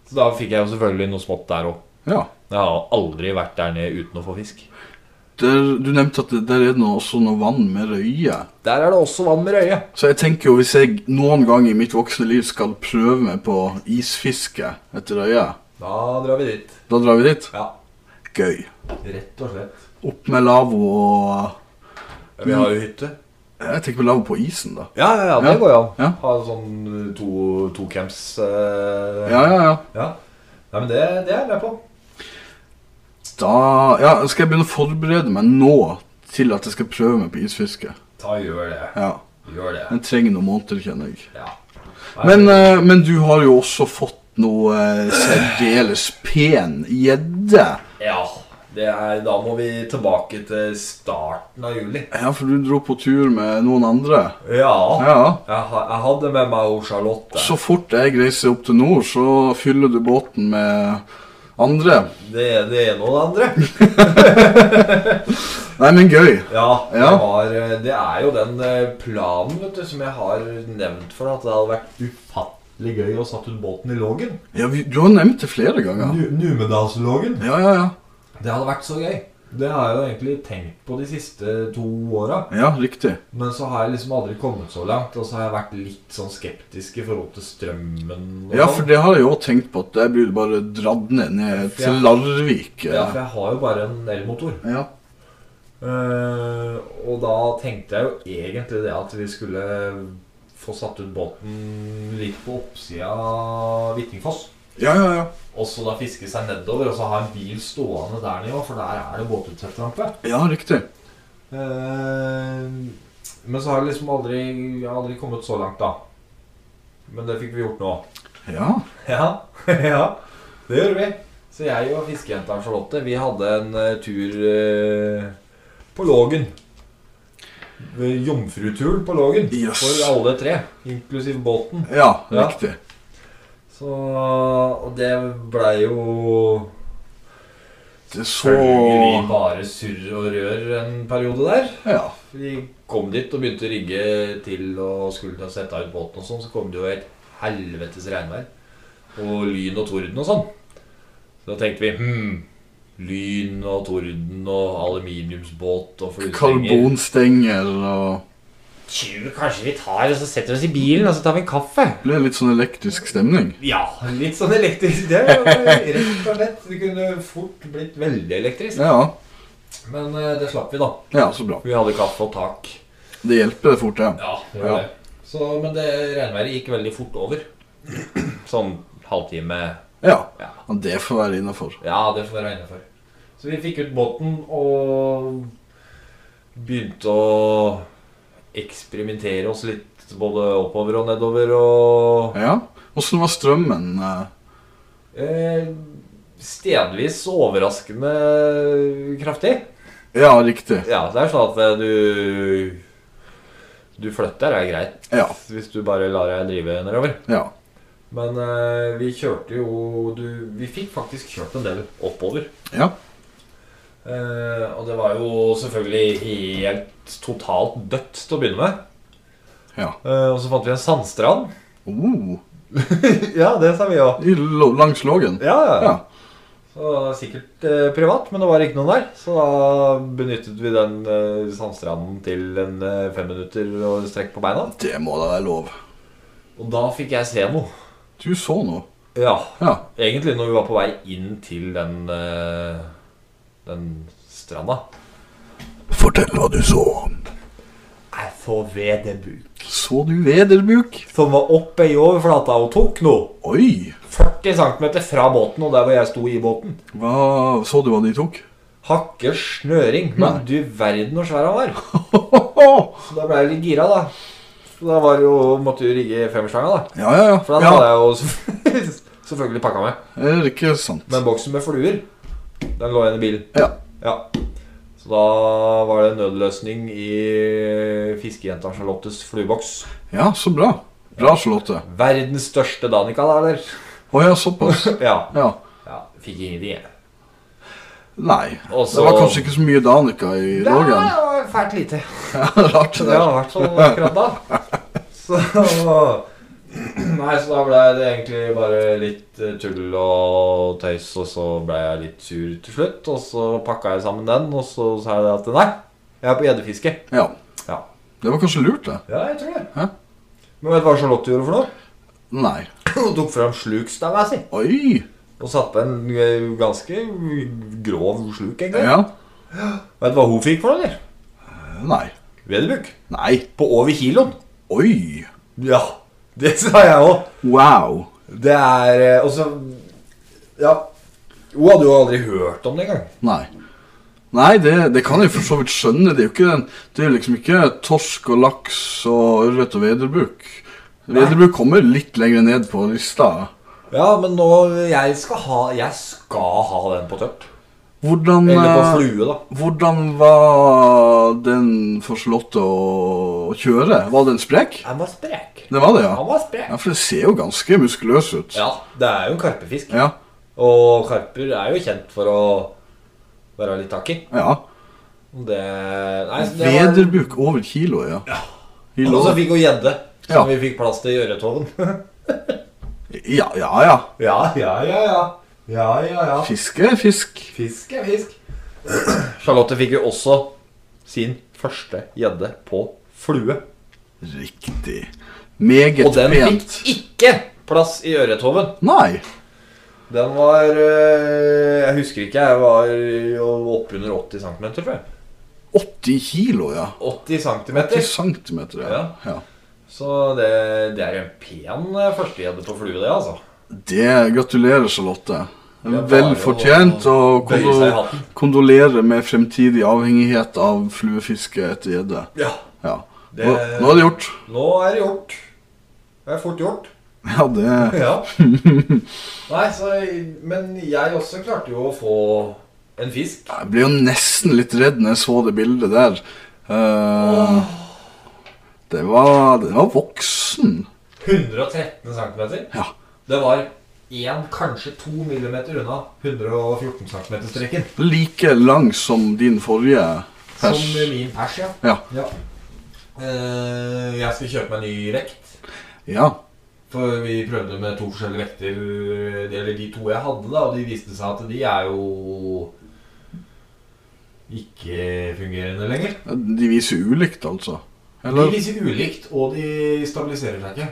[SPEAKER 3] Så da fikk jeg jo selvfølgelig noe smått der òg.
[SPEAKER 2] Ja.
[SPEAKER 3] Jeg har aldri vært der nede uten å få fisk.
[SPEAKER 2] Der, du nevnte at det, der er det nå også noe vann med røye.
[SPEAKER 3] Der er det også vann med røye.
[SPEAKER 2] Så jeg tenker jo hvis jeg noen gang i mitt voksne liv skal prøve meg på isfiske etter røye,
[SPEAKER 3] Da drar vi dit.
[SPEAKER 2] da drar vi dit.
[SPEAKER 3] Ja,
[SPEAKER 2] Gøy.
[SPEAKER 3] rett og slett.
[SPEAKER 2] Opp med lavvo og eh,
[SPEAKER 3] Vi har jo hytte.
[SPEAKER 2] Jeg tenker på lavvo på isen, da.
[SPEAKER 3] Ja, ja, ja, det
[SPEAKER 2] Ja.
[SPEAKER 3] går jo an.
[SPEAKER 2] Ja.
[SPEAKER 3] Ha sånn to, to camps. eh,
[SPEAKER 2] Ja, ja, ja.
[SPEAKER 3] ja. Nei, men det, det er jeg med på.
[SPEAKER 2] Da ja, skal jeg begynne å forberede meg nå til at jeg skal prøve meg på isfiske.
[SPEAKER 3] Ta gjør det.
[SPEAKER 2] Ja.
[SPEAKER 3] Gjør det.
[SPEAKER 2] Jeg trenger noen måneder, kjenner jeg.
[SPEAKER 3] Ja.
[SPEAKER 2] Men, eh, men du har jo også fått noe eh, særdeles pen gjedde.
[SPEAKER 3] Ja. Det er, da må vi tilbake til starten av juli.
[SPEAKER 2] Ja, for du dro på tur med noen andre.
[SPEAKER 3] Ja.
[SPEAKER 2] Ja.
[SPEAKER 3] Jeg, ha- jeg hadde med meg hun Charlotte.
[SPEAKER 2] Så fort jeg reiser opp til nord, så fyller du båten med andre.
[SPEAKER 3] Det, det ene og det andre.
[SPEAKER 2] Nei, men gøy.
[SPEAKER 3] Ja,
[SPEAKER 2] Ja.
[SPEAKER 3] Det, var, det er jo den eh, planen vet du, som jeg har nevnt for deg, at det hadde vært ufattelig gøy å satt ut båten i Lågen.
[SPEAKER 2] Ja, vi, du har nevnt det flere ganger.
[SPEAKER 3] Nu- Numedalslågen.
[SPEAKER 2] Ja, ja, ja.
[SPEAKER 3] Det hadde vært så gøy. Det har jeg jo egentlig tenkt på de siste to åra.
[SPEAKER 2] Ja, riktig.
[SPEAKER 3] Men så har jeg liksom aldri kommet så langt, og så har jeg vært litt sånn skeptisk i forhold til strømmen. Og
[SPEAKER 2] Ja,
[SPEAKER 3] sånn.
[SPEAKER 2] for det har jeg jo også tenkt på, at jeg blir bare dratt ned, ned til
[SPEAKER 3] Ja.
[SPEAKER 2] Larvik. eh.
[SPEAKER 3] ja, for jeg har jo bare en elmotor.
[SPEAKER 2] Ja.
[SPEAKER 3] Eh, og da tenkte jeg jo egentlig det at vi skulle få satt ut båten litt på oppsida av Hvittingfoss.
[SPEAKER 2] ja, ja, ja.
[SPEAKER 3] Og så da fiske seg nedover, og så ha en bil stående der nede, for der er det båtutsettrampe.
[SPEAKER 2] Ja, riktig.
[SPEAKER 3] Eh, men så har jeg liksom aldri, jeg har aldri kommet så langt, da. Men det fikk vi gjort nå.
[SPEAKER 2] Ja.
[SPEAKER 3] <laughs> Ja, <laughs> ja, det gjorde vi. Så jeg og fiskejenta Charlotte Vi hadde en eh, tur eh, på Lågen. Ved Jomfruturen på Lågen
[SPEAKER 2] Yes.
[SPEAKER 3] for alle tre, inklusiv båten.
[SPEAKER 2] Ja,
[SPEAKER 3] Ja.
[SPEAKER 2] riktig.
[SPEAKER 3] Så, og det blei jo
[SPEAKER 2] Det er så
[SPEAKER 3] selvfølgelig bare surr og rør en periode der.
[SPEAKER 2] Ja.
[SPEAKER 3] Vi kom dit og begynte å rigge til og skulle til å sette ut båten og sånn, så kom det jo et helvetes regnvær. Og lyn og torden og sånn. Så da tenkte vi hm, lyn og torden og aluminiumsbåt og fluestenger.
[SPEAKER 2] Karbonstenger og
[SPEAKER 3] Tju, Kanskje vi tar og så setter vi oss i bilen og så tar vi en kaffe?
[SPEAKER 2] Det ble litt sånn elektrisk stemning.
[SPEAKER 3] Ja, litt sånn elektrisk. Det er jo rett og slett. Det kunne fort blitt veldig elektrisk.
[SPEAKER 2] Ja.
[SPEAKER 3] Men eh, det slapp vi, da.
[SPEAKER 2] Ja, så bra.
[SPEAKER 3] Vi hadde kaffe og tak.
[SPEAKER 2] Det hjelper det fort, ja.
[SPEAKER 3] Ja, det
[SPEAKER 2] Ja.
[SPEAKER 3] var det. Så, men det regnværet gikk veldig fort over. Sånn halvtime
[SPEAKER 2] Ja.
[SPEAKER 3] Ja.
[SPEAKER 2] ja det får være innafor.
[SPEAKER 3] Ja, det får være innafor. Så vi fikk ut båten og begynte å eksperimentere oss litt både oppover og nedover og
[SPEAKER 2] Ja. Åssen var strømmen? eh?
[SPEAKER 3] eh, Stedvis overraskende kraftig.
[SPEAKER 2] Ja, riktig.
[SPEAKER 3] Ja, det er sånn at eh, du Du flytter er greit
[SPEAKER 2] Ja.
[SPEAKER 3] hvis du bare lar deg drive nedover.
[SPEAKER 2] Ja.
[SPEAKER 3] Men eh, vi kjørte jo du, Vi fikk faktisk kjørt en del oppover.
[SPEAKER 2] Ja.
[SPEAKER 3] Eh, og det var jo selvfølgelig helt totalt dødt til å begynne med.
[SPEAKER 2] Ja.
[SPEAKER 3] Eh, og så fant vi en sandstrand. <laughs>
[SPEAKER 2] Oh,
[SPEAKER 3] ja, det sa vi òg.
[SPEAKER 2] i, lo- langs Lågen?
[SPEAKER 3] Ja, ja.
[SPEAKER 2] Ja.
[SPEAKER 3] Så det var sikkert eh, privat, men det var ikke noen der. Så da benyttet vi den eh, sandstranden til en eh, fem minutter og strekk på beina.
[SPEAKER 2] Det må da være lov.
[SPEAKER 3] Og da fikk jeg se noe.
[SPEAKER 2] Du så noe.
[SPEAKER 3] Ja,
[SPEAKER 2] Ja.
[SPEAKER 3] Egentlig når vi var på vei inn til den, eh, den stranda.
[SPEAKER 2] Fortell hva du så.
[SPEAKER 3] Jeg så vedebuk.
[SPEAKER 2] Så du vederbuk?
[SPEAKER 3] Som var oppe i overflata og tok noe.
[SPEAKER 2] Oi!
[SPEAKER 3] 40 cm fra båten og der hvor jeg sto i båten.
[SPEAKER 2] Hva, så du hva de tok? <laughs>
[SPEAKER 3] Hakke snøring. Men du verden hvor svær han var. Så da ble jeg litt gira, da. Så da var det jo, måtte du rigge femmerstanga, da.
[SPEAKER 2] Ja, ja, ja.
[SPEAKER 3] For da
[SPEAKER 2] ja.
[SPEAKER 3] hadde jeg jo <laughs> selvfølgelig- selvfølgelig pakka meg.
[SPEAKER 2] Er det ikke sant?
[SPEAKER 3] Men boksen med fluer, den lå igjen i bilen.
[SPEAKER 2] Ja.
[SPEAKER 3] Ja. Så da var det nødløsning i fiskejenta Charlottes flueboks.
[SPEAKER 2] Ja, så bra. Bra, Charlotte.
[SPEAKER 3] Verdens største Danica, da, eller?
[SPEAKER 2] Å ja, såpass.
[SPEAKER 3] Ja.
[SPEAKER 2] Ja.
[SPEAKER 3] ja fikk ingenting, jeg.
[SPEAKER 2] Nei.
[SPEAKER 3] Og
[SPEAKER 2] Det var kanskje ikke så mye Danica i
[SPEAKER 3] Det
[SPEAKER 2] Lågen.
[SPEAKER 3] var fælt lite.
[SPEAKER 2] <laughs> Ja, Rart det
[SPEAKER 3] Det
[SPEAKER 2] der.
[SPEAKER 3] var i hvert fall akkurat da. Så Nei, så da ble det egentlig bare litt eh, tull og tøys, og så ble jeg litt sur til slutt. Og så pakka jeg sammen den, og så sa jeg det at nei, jeg er på gjeddefiske.
[SPEAKER 2] Ja.
[SPEAKER 3] Ja.
[SPEAKER 2] Det var kanskje lurt, det.
[SPEAKER 3] Ja, jeg tror det.
[SPEAKER 2] Hæ?
[SPEAKER 3] Men vet du hva Charlotte gjorde for noe? <laughs>
[SPEAKER 2] Nei.
[SPEAKER 3] Hun tok fram slukstanga si
[SPEAKER 2] Oi!
[SPEAKER 3] og satte på en eh, ganske grov sluk. egentlig.
[SPEAKER 2] Ja.
[SPEAKER 3] Vet du hva hun fikk for noe? eller?
[SPEAKER 2] Nei.
[SPEAKER 3] Vedderbuk.
[SPEAKER 2] Nei.
[SPEAKER 3] På over kiloen.
[SPEAKER 2] Oi!
[SPEAKER 3] Ja, <laughs> det sa jeg òg.
[SPEAKER 2] Wow.
[SPEAKER 3] Det er eh, Og så Ja. Hun hadde jo aldri hørt om det engang.
[SPEAKER 2] Nei. Nei, det, det kan jeg for så vidt skjønne. Det er jo ikke den, det er liksom ikke torsk og laks og ørret og vederbruk. Vederbruk kommer litt lenger ned på lista.
[SPEAKER 3] Ja, men nå Jeg skal ha Jeg skal ha den på tørt.
[SPEAKER 2] Hvordan,
[SPEAKER 3] Eller på
[SPEAKER 2] eh,
[SPEAKER 3] flue, da.
[SPEAKER 2] hvordan var den for Charlotte å kjøre? Var den sprek?
[SPEAKER 3] Han var sprek.
[SPEAKER 2] Det var det, ja.
[SPEAKER 3] Han var sprek.
[SPEAKER 2] ja. For det ser jo ganske muskuløs ut.
[SPEAKER 3] Ja, det er jo en karpefisk.
[SPEAKER 2] Ja.
[SPEAKER 3] Og karper er jo kjent for å være litt taki.
[SPEAKER 2] ja.
[SPEAKER 3] Og Det, nei, så det var, Altså,
[SPEAKER 2] Vederbukk over kiloet, ja. I
[SPEAKER 3] og så
[SPEAKER 2] lår.
[SPEAKER 3] fikk hun gjedde, som
[SPEAKER 2] Ja.
[SPEAKER 3] vi fikk plass til i øretoven. <laughs>
[SPEAKER 2] Ja, ja, ja.
[SPEAKER 3] ja, ja, ja, ja. Ja, ja, ja.
[SPEAKER 2] Fisk er fisk.
[SPEAKER 3] Fisk er fisk. <clears throat> Charlotte fikk jo også sin første gjedde på flue.
[SPEAKER 2] Riktig. Meget
[SPEAKER 3] Og den
[SPEAKER 2] pent.
[SPEAKER 3] fikk ikke plass i øretoven.
[SPEAKER 2] Nei.
[SPEAKER 3] Den var øh, Jeg husker ikke, jeg var jo oppunder 80 cm, tror jeg.
[SPEAKER 2] 80 kilo, ja.
[SPEAKER 3] 80 cm.
[SPEAKER 2] 80 centimeter, ja. ja.
[SPEAKER 3] Så det, det er en pen øh, førstegjedde på flue, det, altså.
[SPEAKER 2] Det gratulerer, Charlotte.
[SPEAKER 3] Det er bare
[SPEAKER 2] Vel fortjent,
[SPEAKER 3] å
[SPEAKER 2] og
[SPEAKER 3] bøye seg i
[SPEAKER 2] kondo
[SPEAKER 3] hatten.
[SPEAKER 2] kondolerer med fremtidig avhengighet av fluefiske etter gjedde.
[SPEAKER 3] Ja.
[SPEAKER 2] Ja.
[SPEAKER 3] Det-
[SPEAKER 2] Nå, nå er det gjort. <laughs>
[SPEAKER 3] Nå er det gjort. Det er fort gjort.
[SPEAKER 2] Ja, det
[SPEAKER 3] Ja. <laughs> Nei, så Men jeg også klarte jo å få en fisk.
[SPEAKER 2] Jeg ble jo nesten litt redd når jeg så det bildet der. Eh, det, var, det var voksen.
[SPEAKER 3] 113 cm.
[SPEAKER 2] Ja.
[SPEAKER 3] Det var én, kanskje to millimeter unna 114 cm-streken.
[SPEAKER 2] Like lang som din forrige
[SPEAKER 3] Som
[SPEAKER 2] pers.
[SPEAKER 3] min pers, ja.
[SPEAKER 2] Ja.
[SPEAKER 3] Eh, jeg skal kjøpe meg ny vekt.
[SPEAKER 2] Ja.
[SPEAKER 3] For vi prøvde med to forskjellige vekter, eller de to jeg hadde, da, og de viste seg at de er jo ikke fungerende lenger.
[SPEAKER 2] De viser ulikt, altså.
[SPEAKER 3] De
[SPEAKER 2] Eller?
[SPEAKER 3] viser ulikt, og de stabiliserer seg ikke.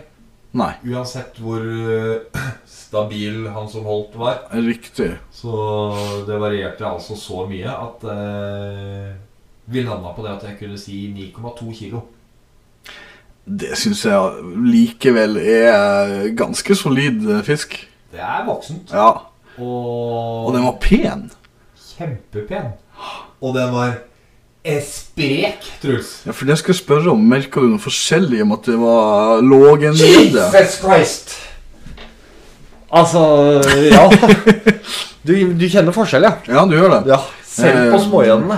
[SPEAKER 2] Nei.
[SPEAKER 3] Uansett hvor <clears throat> eh, stabil han som holdt var.
[SPEAKER 2] Riktig.
[SPEAKER 3] Så det varierte altså så mye at eh, vi landa på det at jeg kunne si 9,2 kilo.
[SPEAKER 2] Det syns jeg likevel er ganske solid eh, fisk.
[SPEAKER 3] Det er voksent.
[SPEAKER 2] Ja.
[SPEAKER 3] Og,
[SPEAKER 2] Og den var pen.
[SPEAKER 3] kjempepen. Og den var eh, sprek, Truls.
[SPEAKER 2] Ja, For det skal jeg spørre om. Merka du noe forskjellig om at det var låg en gjedde?
[SPEAKER 3] Jesus Christ! Altså Ja. Du, du kjenner forskjell, ja.
[SPEAKER 2] Ja, du gjør det.
[SPEAKER 3] ja selv på
[SPEAKER 2] Eh,
[SPEAKER 3] smågjeddene.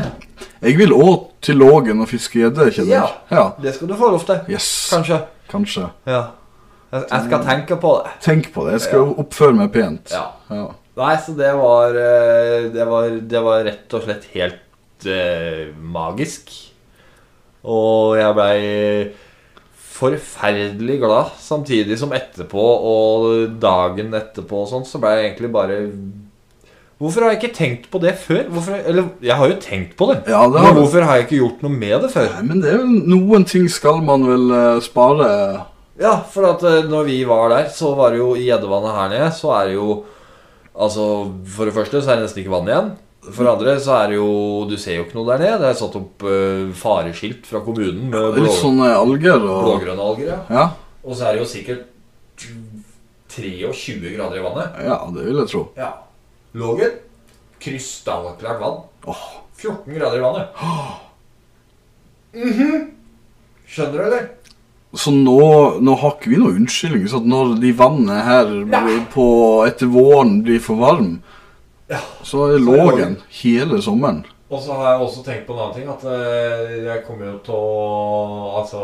[SPEAKER 2] Jeg vil òg til Lågen og fiske gjedde, kjenner jeg. Ja.
[SPEAKER 3] Det skal du få lov til.
[SPEAKER 2] Yes,
[SPEAKER 3] Kanskje.
[SPEAKER 2] kanskje.
[SPEAKER 3] Ja. Jeg, jeg skal tenke på det.
[SPEAKER 2] Tenk på det. Jeg skal oppføre meg pent.
[SPEAKER 3] Mm. Ja.
[SPEAKER 2] Ja.
[SPEAKER 3] Nei, så det var eh, Det var, det var rett og slett helt eh, magisk. Og jeg blei forferdelig glad, samtidig som etterpå og dagen etterpå og sånn, så blei jeg egentlig bare Hvorfor har jeg ikke tenkt på det før? Hvorfor, eller jeg har jo tenkt på det,
[SPEAKER 2] Ja, det har
[SPEAKER 3] men
[SPEAKER 2] du.
[SPEAKER 3] hvorfor har jeg ikke gjort noe med det før?
[SPEAKER 2] Nei, men det er jo noen ting skal man vel eh, spare.
[SPEAKER 3] Ja, for at eh, når vi var der, så var det jo i gjeddevannet her nede, så er det jo Altså, for det første så er det nesten ikke vann igjen. For det andre så er det jo Du ser jo ikke noe der nede. Det er satt opp eh, fareskilt fra kommunen med blå,
[SPEAKER 2] Litt sånn- sånne alger og
[SPEAKER 3] blågrønne alger, ja.
[SPEAKER 2] ja,
[SPEAKER 3] Og så er det jo sikkert 23 grader i vannet.
[SPEAKER 2] ja, det vil jeg tro.
[SPEAKER 3] Ja. Lågen krystallklart vann.
[SPEAKER 2] Åh,
[SPEAKER 3] 14 grader i vannet. Mhm. Skjønner du, eller?
[SPEAKER 2] Så nå, nå har ikke vi noen unnskyldning. Så at når de vannet her blir på, etter våren blir for varm,
[SPEAKER 3] Ja.
[SPEAKER 2] så er Lågen hele sommeren.
[SPEAKER 3] Og så har jeg også tenkt på en annen ting, at eh, jeg kommer jo til å Altså,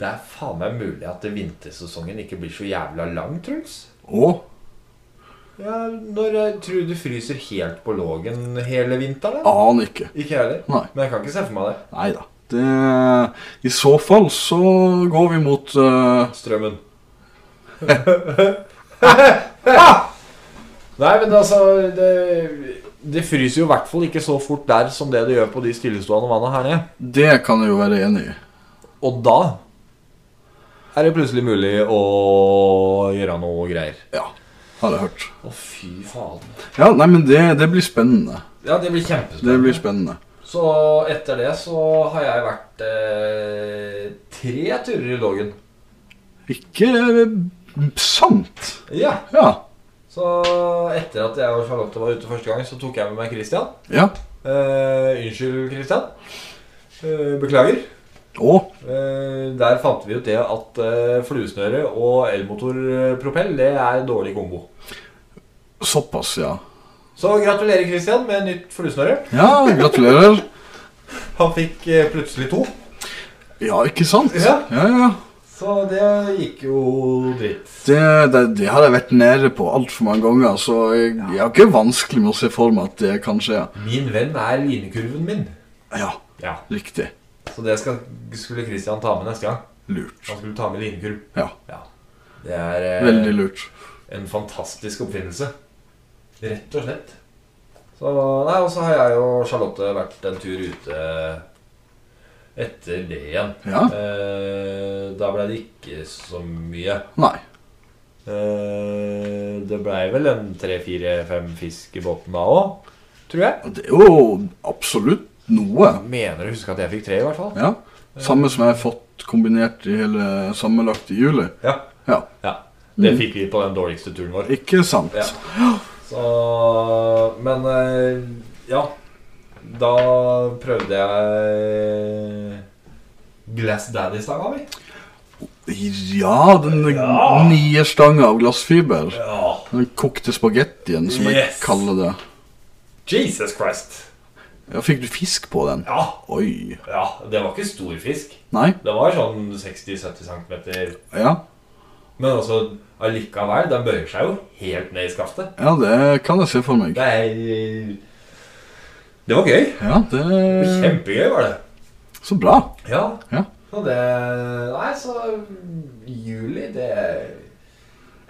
[SPEAKER 3] det er faen meg mulig at vintersesongen ikke blir så jævla lang, Truls.
[SPEAKER 2] Å,
[SPEAKER 3] Ja, når jeg tror du fryser helt på lågen hele vinteren? da?
[SPEAKER 2] aner ikke.
[SPEAKER 3] Ah. Ikke jeg heller.
[SPEAKER 2] Nei.
[SPEAKER 3] Men jeg kan ikke se for meg det.
[SPEAKER 2] Nei da. Det, I så fall så går vi mot eh,
[SPEAKER 3] Strømmen. <laughs> Ah! Nei, men altså det, det fryser jo i hvert fall ikke så fort der som det det gjør på de stillestående vanna her nede.
[SPEAKER 2] Det kan jeg jo være enig i.
[SPEAKER 3] Og da er det plutselig mulig å gjøre noe greier.
[SPEAKER 2] Ja, har jeg hørt.
[SPEAKER 3] Å, fy faen.
[SPEAKER 2] Ja, nei, men det, det blir spennende.
[SPEAKER 3] Ja, det blir
[SPEAKER 2] Det
[SPEAKER 3] kjempespennende.
[SPEAKER 2] blir spennende.
[SPEAKER 3] Så etter det så har jeg vært eh, tre turer i Lågen.
[SPEAKER 2] Ikke eh, sant.
[SPEAKER 3] Ja.
[SPEAKER 2] Ja.
[SPEAKER 3] Så etter at jeg og Charlotte var ute første gang, så tok jeg med meg Christian.
[SPEAKER 2] Ja.
[SPEAKER 3] Eh, unnskyld, Christian. Eh, beklager.
[SPEAKER 2] Å,
[SPEAKER 3] Eh, der fant vi ut det at eh, fluesnøre og elmotorpropell, det er dårlig kombo.
[SPEAKER 2] såpass, ja.
[SPEAKER 3] Så gratulerer Christian med nytt fluesnøre.
[SPEAKER 2] Ja, gratulerer.
[SPEAKER 3] Han fikk eh, plutselig to.
[SPEAKER 2] Ja, ikke sant?
[SPEAKER 3] Ja.
[SPEAKER 2] ja. ja.
[SPEAKER 3] Så det gikk jo dritt.
[SPEAKER 2] Det, det, det har jeg vært nede på altfor mange ganger, så jeg, jeg har ikke vanskelig med å se for meg at det kan skje.
[SPEAKER 3] Min venn er linekurven min.
[SPEAKER 2] Ja,
[SPEAKER 3] Ja.
[SPEAKER 2] riktig.
[SPEAKER 3] Så det skal, skulle Christian ta med neste gang.
[SPEAKER 2] Lurt.
[SPEAKER 3] Han skulle ta med limkurv.
[SPEAKER 2] Ja.
[SPEAKER 3] Det er eh,
[SPEAKER 2] Veldig lurt.
[SPEAKER 3] en fantastisk oppfinnelse. Rett og slett. Så, nei, og så har jeg og Charlotte vært en tur ute etter det igjen.
[SPEAKER 2] Ja?
[SPEAKER 3] Eh, da ble det ikke så mye.
[SPEAKER 2] Nei.
[SPEAKER 3] Eh, det blei vel en tre-fire-fem fisk i båten da òg, tror jeg.
[SPEAKER 2] Det er jo absolutt noe.
[SPEAKER 3] Mener å huske at jeg fikk tre, i hvert fall.
[SPEAKER 2] Ja. Samme som jeg har fått kombinert i hele sammenlagt i juli.
[SPEAKER 3] Ja.
[SPEAKER 2] Ja.
[SPEAKER 3] Det fikk vi på den dårligste turen vår.
[SPEAKER 2] Ikke sant?
[SPEAKER 3] Ja. Så, men eh, ja Da prøvde jeg Glass Daddy-stanga mi.
[SPEAKER 2] Ja, den
[SPEAKER 3] Ja.
[SPEAKER 2] nye stanga av glassfiber.
[SPEAKER 3] Ja.
[SPEAKER 2] Den kokte spagettien, som jeg
[SPEAKER 3] Yes.
[SPEAKER 2] kaller det.
[SPEAKER 3] Jesus Christ.
[SPEAKER 2] Ja, Fikk du fisk på den?
[SPEAKER 3] Ja.
[SPEAKER 2] Oi.
[SPEAKER 3] ja. Det var ikke stor fisk.
[SPEAKER 2] Nei?
[SPEAKER 3] Det var sånn 60-70 cm.
[SPEAKER 2] Ja.
[SPEAKER 3] Men altså allikevel, den bøyer seg jo helt ned i skaftet.
[SPEAKER 2] ja, det kan jeg se for meg.
[SPEAKER 3] Det er Det var gøy.
[SPEAKER 2] Ja,
[SPEAKER 3] Det var
[SPEAKER 2] det
[SPEAKER 3] Kjempegøy var det.
[SPEAKER 2] Så bra.
[SPEAKER 3] Mm. Ja.
[SPEAKER 2] Ja.
[SPEAKER 3] Og det Nei, så juli, det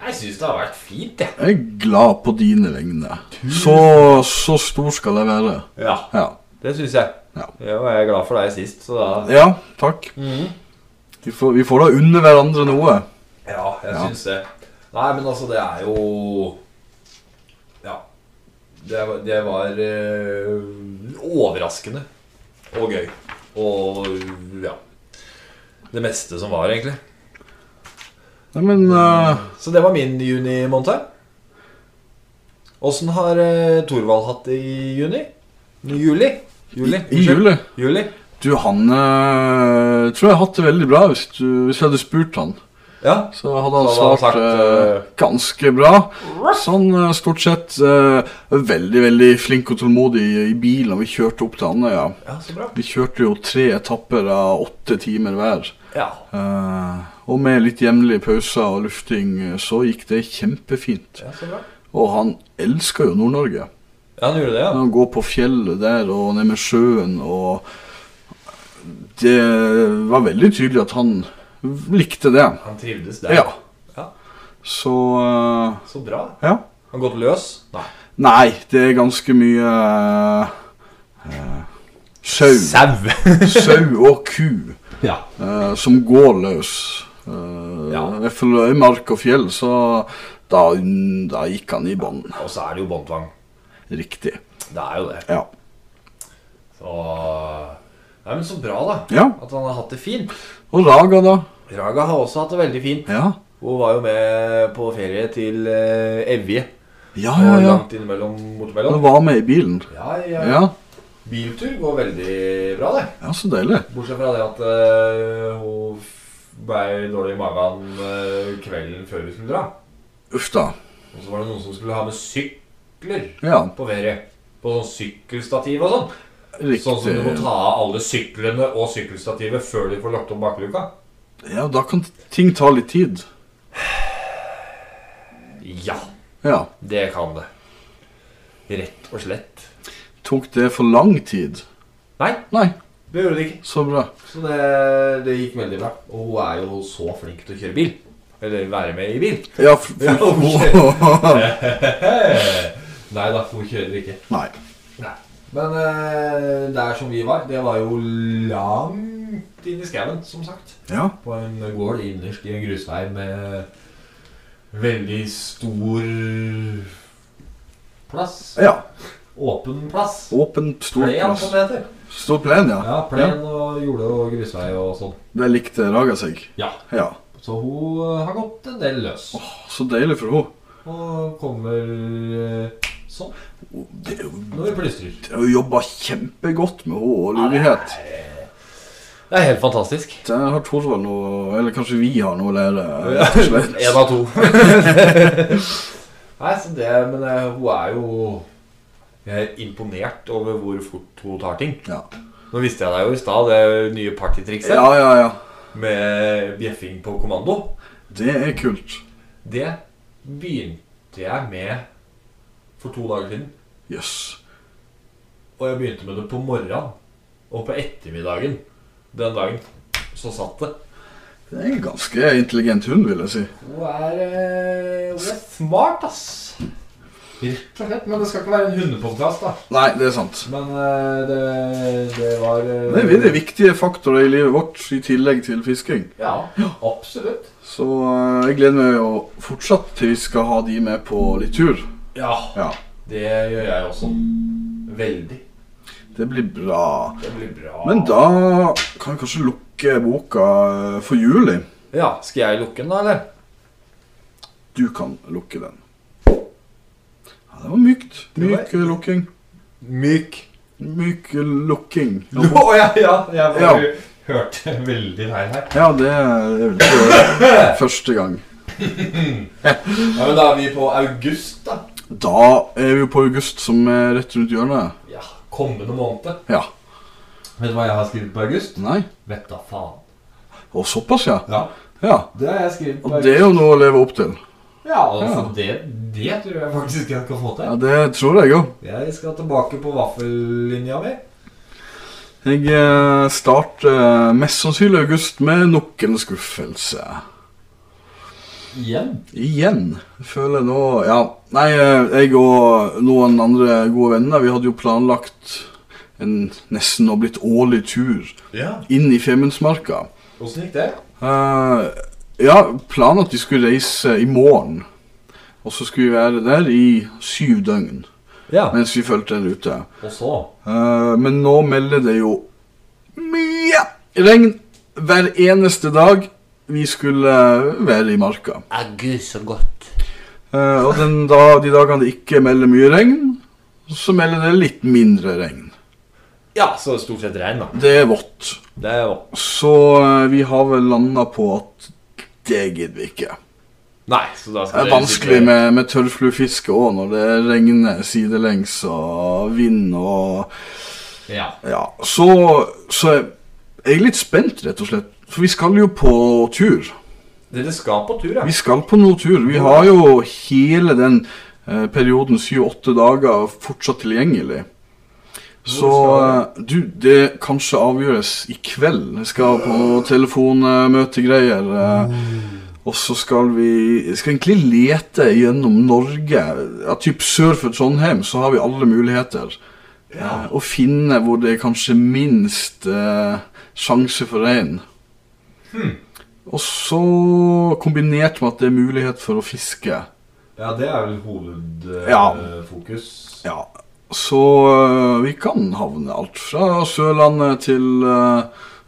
[SPEAKER 3] Jeg syns det har vært fint, jeg.
[SPEAKER 2] Jeg er glad på dine vegne. Så, så stor skal jeg være.
[SPEAKER 3] Ja.
[SPEAKER 2] Ja.
[SPEAKER 3] Det syns jeg.
[SPEAKER 2] Ja.
[SPEAKER 3] Jeg var jeg glad for deg sist, så da
[SPEAKER 2] ja takk. Vi får, vi får da unne hverandre noe.
[SPEAKER 3] Ja, jeg
[SPEAKER 2] Ja.
[SPEAKER 3] syns det. Nei, men altså, det er jo Ja. Det var, det var eh, overraskende og gøy. Og ja. Det meste som var, egentlig.
[SPEAKER 2] Nei, men
[SPEAKER 3] Mm.
[SPEAKER 2] eh,
[SPEAKER 3] Så det var min juni måned. Åssen har eh, Thorvald hatt det i juni? Juli? Juli?
[SPEAKER 2] I juli?
[SPEAKER 3] juli?
[SPEAKER 2] Du, han eh, tror jeg har hatt det veldig bra hvis, du, hvis jeg hadde spurt han.
[SPEAKER 3] Ja.
[SPEAKER 2] Så hadde han
[SPEAKER 3] Så hadde han
[SPEAKER 2] svart
[SPEAKER 3] sagt,
[SPEAKER 2] eh, ganske bra. Sånn eh, stort sett eh, veldig, veldig flink og tålmodig i, i bilen. og Vi kjørte opp til Andøya.
[SPEAKER 3] ja, så bra.
[SPEAKER 2] Vi kjørte jo tre etapper av åtte timer hver.
[SPEAKER 3] Ja.
[SPEAKER 2] Eh, og med litt jevnlige pauser og lufting eh, så gikk det kjempefint.
[SPEAKER 3] ja, så bra.
[SPEAKER 2] Og han elsker jo Nord-Norge.
[SPEAKER 3] Ja, han gjorde det, ja.
[SPEAKER 2] Han går på fjellet der og ned med sjøen og Det var veldig tydelig at han likte det.
[SPEAKER 3] Han trivdes der.
[SPEAKER 2] Ja.
[SPEAKER 3] Ja.
[SPEAKER 2] Så eh,
[SPEAKER 3] Så bra.
[SPEAKER 2] Ja.
[SPEAKER 3] Han gått løs? Nei.
[SPEAKER 2] Nei, det er ganske mye eh,
[SPEAKER 3] <laughs>
[SPEAKER 2] Sau. <laughs> Sau og ku
[SPEAKER 3] ja.
[SPEAKER 2] eh, som går løs. Eh,
[SPEAKER 3] Ja.
[SPEAKER 2] I hvert fall i mark og fjell, så da, da gikk han i bånn.
[SPEAKER 3] Og så er det jo båndtvang.
[SPEAKER 2] Riktig.
[SPEAKER 3] Det er jo det.
[SPEAKER 2] Ja.
[SPEAKER 3] Så Nei, men så bra, da.
[SPEAKER 2] ja.
[SPEAKER 3] At han har hatt det fint.
[SPEAKER 2] Og Raga, da?
[SPEAKER 3] Raga har også hatt det veldig fint.
[SPEAKER 2] Ja,
[SPEAKER 3] Hun var jo med på ferie til eh, Evje.
[SPEAKER 2] ja, Ah, ja.
[SPEAKER 3] Og
[SPEAKER 2] ja.
[SPEAKER 3] langt innimellom
[SPEAKER 2] Han
[SPEAKER 3] bortimellom.
[SPEAKER 2] var med i bilen.
[SPEAKER 3] Ja, ja.
[SPEAKER 2] Ja,
[SPEAKER 3] Biltur går veldig bra, det.
[SPEAKER 2] ja så deilig.
[SPEAKER 3] Bortsett fra det at eh, hun f- ble dårlig i magen eh, kvelden før vi skulle dra.
[SPEAKER 2] Uff da.
[SPEAKER 3] Og så var det noen som skulle ha med sykler
[SPEAKER 2] Ja,
[SPEAKER 3] på ferie. På sånn sykkelstativ og sånn. Sånn som du må
[SPEAKER 2] riktig.
[SPEAKER 3] ta av alle syklene og sykkelstativet før de får lagt opp bakluka.
[SPEAKER 2] Ja, da kan ting ta litt tid.
[SPEAKER 3] Ja,
[SPEAKER 2] Ja.
[SPEAKER 3] det kan det. Rett og slett.
[SPEAKER 2] Tok det for lang tid?
[SPEAKER 3] Nei,
[SPEAKER 2] Nei,
[SPEAKER 3] det gjorde det ikke.
[SPEAKER 2] så bra.
[SPEAKER 3] Så det, det gikk veldig bra. Og hun er jo så flink til å kjøre bil. Eller være med i bil.
[SPEAKER 2] Ja, f
[SPEAKER 3] Ja,
[SPEAKER 2] f
[SPEAKER 3] Nei da, hun kjører ikke.
[SPEAKER 2] <laughs> Nei.
[SPEAKER 3] Nei. Men eh, der som vi var, det var jo langt inn i skauen, som sagt.
[SPEAKER 2] Ja,
[SPEAKER 3] På en gård innerst i en grusvei med veldig stor plass.
[SPEAKER 2] ja.
[SPEAKER 3] Åpen plass.
[SPEAKER 2] Åpen, stor
[SPEAKER 3] Plen,
[SPEAKER 2] plass.
[SPEAKER 3] som det heter.
[SPEAKER 2] Stor plen, ja.
[SPEAKER 3] Ja, plen og jorde og grusvei og sånn.
[SPEAKER 2] Det likte Raga seg.
[SPEAKER 3] Ja.
[SPEAKER 2] Ja.
[SPEAKER 3] Så hun eh, har gått en del løs.
[SPEAKER 2] Så deilig for henne.
[SPEAKER 3] Og kommer eh, sånn
[SPEAKER 2] Det er jo-
[SPEAKER 3] når vi plystrer.
[SPEAKER 2] det er jo jobba kjempegodt med henne og lurighet.
[SPEAKER 3] Det er helt fantastisk.
[SPEAKER 2] Der har Thorvald noe Eller kanskje vi har noe å lære, rett og
[SPEAKER 3] <laughs>
[SPEAKER 2] slett.
[SPEAKER 3] En av to. Nei, så det Men eh, hun er jo Jeg er imponert over hvor fort hun tar ting.
[SPEAKER 2] Ja,
[SPEAKER 3] Nå viste jeg deg jo i stad det nye partytrikset
[SPEAKER 2] ja, ja. ja.
[SPEAKER 3] med bjeffing på kommando.
[SPEAKER 2] Det er kult.
[SPEAKER 3] Det begynte jeg med for to dager siden.
[SPEAKER 2] Jøss.
[SPEAKER 3] Og jeg begynte med det på morgenen. Og på ettermiddagen den dagen så satt det.
[SPEAKER 2] Det er en ganske intelligent hund, vil jeg si.
[SPEAKER 3] Hun er, eh, hun er smart, ass. Rett og slett. Men det skal ikke være en hundepodkast, da.
[SPEAKER 2] Nei, det er sant.
[SPEAKER 3] Men eh, det, det var eh,
[SPEAKER 2] Det er veldig viktige faktorer i livet vårt i tillegg til fisking.
[SPEAKER 3] Ja, absolutt.
[SPEAKER 2] Så eh, jeg gleder meg jo fortsatt til vi skal ha de med på litt tur.
[SPEAKER 3] Ja,
[SPEAKER 2] Ja,
[SPEAKER 3] det gjør jeg også. Veldig.
[SPEAKER 2] det blir bra.
[SPEAKER 3] Det blir bra.
[SPEAKER 2] Men da kan vi kanskje lukke boka eh, for juli.
[SPEAKER 3] Ja, Skal jeg lukke den, da, eller?
[SPEAKER 2] Du kan lukke den. Ja, det var mykt.
[SPEAKER 3] Det var-
[SPEAKER 2] Myk eh, lukking.
[SPEAKER 3] Myk.
[SPEAKER 2] Myk eh, lukking.
[SPEAKER 3] Å ja, ja, jeg
[SPEAKER 2] Ja.
[SPEAKER 3] bare hørte veldig feil her.
[SPEAKER 2] Ja, det er vel ikke
[SPEAKER 3] <laughs>
[SPEAKER 2] første gang.
[SPEAKER 3] Ja, men Da er vi på august, da.
[SPEAKER 2] Da er vi på august, som er rett rundt hjørnet.
[SPEAKER 3] Ja, Kommende måned.
[SPEAKER 2] Ja.
[SPEAKER 3] Vet du hva jeg har skrevet på august?
[SPEAKER 2] Nei.
[SPEAKER 3] Vet da faen.
[SPEAKER 2] Og såpass, ja.
[SPEAKER 3] Ja,
[SPEAKER 2] Ja.
[SPEAKER 3] Det har jeg skrevet på
[SPEAKER 2] Og det er jo noe å leve opp til.
[SPEAKER 3] Ja, altså, Det, det tror jeg faktisk jeg skal få
[SPEAKER 2] Ja,
[SPEAKER 3] til.
[SPEAKER 2] Det tror jeg òg.
[SPEAKER 3] Jeg skal tilbake på vaffellinja mi.
[SPEAKER 2] Jeg eh, starter mest sannsynlig august med nok en skuffelse.
[SPEAKER 3] Igjen.
[SPEAKER 2] Igjen. Jeg føler nå Ja. Nei, eh, jeg og noen andre gode venner, vi hadde jo planlagt en nesten nå blitt årlig tur
[SPEAKER 3] Ja.
[SPEAKER 2] inn i Femundsmarka.
[SPEAKER 3] Åssen gikk det?
[SPEAKER 2] Eh, ja, planen at vi skulle reise i morgen. Og så skulle vi være der i syv døgn
[SPEAKER 3] Ja.
[SPEAKER 2] mens vi fulgte en rute.
[SPEAKER 3] Og så
[SPEAKER 2] Eh, men nå melder det jo mye regn hver eneste dag vi skulle være i marka.
[SPEAKER 4] Er Gud så godt.
[SPEAKER 2] Eh, og den da, de dagene det ikke melder mye regn, så melder det litt mindre regn.
[SPEAKER 3] Ja, så stort sett regn, da.
[SPEAKER 2] Det er vått.
[SPEAKER 3] Det er jo
[SPEAKER 2] Så eh, vi har vel landa på at det gidder vi ikke.
[SPEAKER 3] Nei, så da
[SPEAKER 2] Det
[SPEAKER 3] skal
[SPEAKER 2] er
[SPEAKER 3] dere
[SPEAKER 2] vanskelig
[SPEAKER 3] sitte-
[SPEAKER 2] med, med tørrfluefiske òg, når det regner sidelengs og vind og
[SPEAKER 3] Ja.
[SPEAKER 2] Ja. Så, så er jeg er litt spent, rett og slett. For vi skal jo på tur.
[SPEAKER 3] Dere skal på tur, ja.
[SPEAKER 2] Vi skal på noe tur. Vi har jo hele den eh, perioden, syv-åtte dager, fortsatt tilgjengelig. Så
[SPEAKER 3] Hvor
[SPEAKER 2] eh, du, det kanskje avgjøres i kveld. Jeg skal på telefonmøtegreier. eh, Og så skal vi skal egentlig lete gjennom Norge. Ja, typ sør for Trondheim så har vi alle muligheter. Eh, og finne hvor det er kanskje minst eh, sjanse for rein. Hmm. Og så kombinert med at det er mulighet for å fiske.
[SPEAKER 3] Ja, det er vel
[SPEAKER 2] Ja.
[SPEAKER 3] hovedfokus.
[SPEAKER 2] Ja, så øh, vi kan havne alt fra Sørlandet til øh,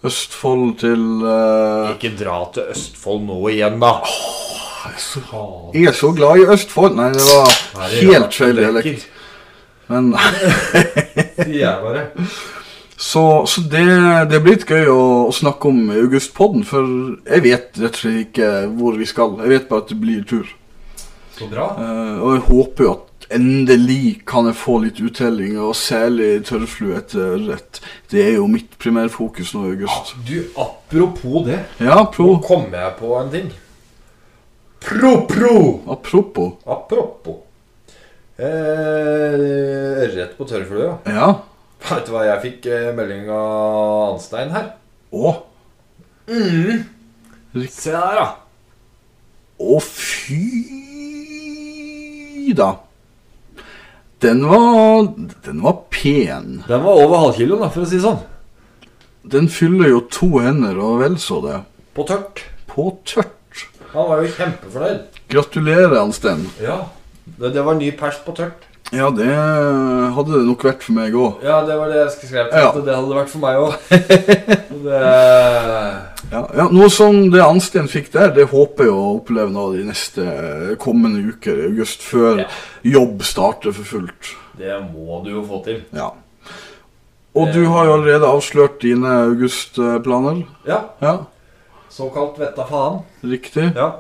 [SPEAKER 2] Østfold til øh,
[SPEAKER 3] Ikke dra til Østfold nå igjen, da. Faen.
[SPEAKER 2] Jeg er så glad i Østfold! Nei, det var
[SPEAKER 3] Nei, det gjør
[SPEAKER 2] helt feil
[SPEAKER 3] jeg.
[SPEAKER 2] dialekt. Men <laughs>
[SPEAKER 3] Sier jeg bare.
[SPEAKER 2] Så, så det, det blir litt gøy å, å snakke om i Augustpodden, for jeg vet rett og slett ikke hvor vi skal. Jeg vet bare at det blir tur.
[SPEAKER 3] Så bra.
[SPEAKER 2] Eh, og jeg håper jo at endelig kan jeg få litt uttelling, og særlig tørrflue etter ørret. Det er jo mitt primærfokus nå i august.
[SPEAKER 3] Du, apropos det,
[SPEAKER 2] Ja,
[SPEAKER 3] nå
[SPEAKER 2] pro.
[SPEAKER 3] kom jeg på en ting. Pro-pro!
[SPEAKER 2] Apropos.
[SPEAKER 3] Apropos. Eh, Ørret på tørrflue, ja.
[SPEAKER 2] Ja.
[SPEAKER 3] Vet du hva jeg fikk eh, melding av Anstein her?
[SPEAKER 2] Å,
[SPEAKER 3] Se der, da.
[SPEAKER 2] å fy da. Den var, den var pen.
[SPEAKER 3] Den var over halvkiloen, da, for å si det sånn.
[SPEAKER 2] Den fyller jo to hender og vel så det.
[SPEAKER 3] På tørt.
[SPEAKER 2] På tørt.
[SPEAKER 3] Han var jo kjempefornøyd.
[SPEAKER 2] Gratulerer, Ansten.
[SPEAKER 3] Ja. Det, det var ny pers på tørt.
[SPEAKER 2] Ja, det hadde det nok vært for meg òg.
[SPEAKER 3] Ja, det var det jeg skulle skrevet.
[SPEAKER 2] Ja.
[SPEAKER 3] at Det hadde det vært for meg <laughs> òg.
[SPEAKER 2] Ja, ja, noe som det Ansten fikk der, det håper jeg å oppleve nå de neste eh, kommende uker i august, før
[SPEAKER 3] Ja.
[SPEAKER 2] jobb starter for fullt.
[SPEAKER 3] Det må du jo få til.
[SPEAKER 2] Ja. Og
[SPEAKER 3] Det-
[SPEAKER 2] du har jo allerede avslørt dine augustplaner.
[SPEAKER 3] Ja.
[SPEAKER 2] Ja,
[SPEAKER 3] Såkalt vetta faen.
[SPEAKER 2] riktig.
[SPEAKER 3] Ja.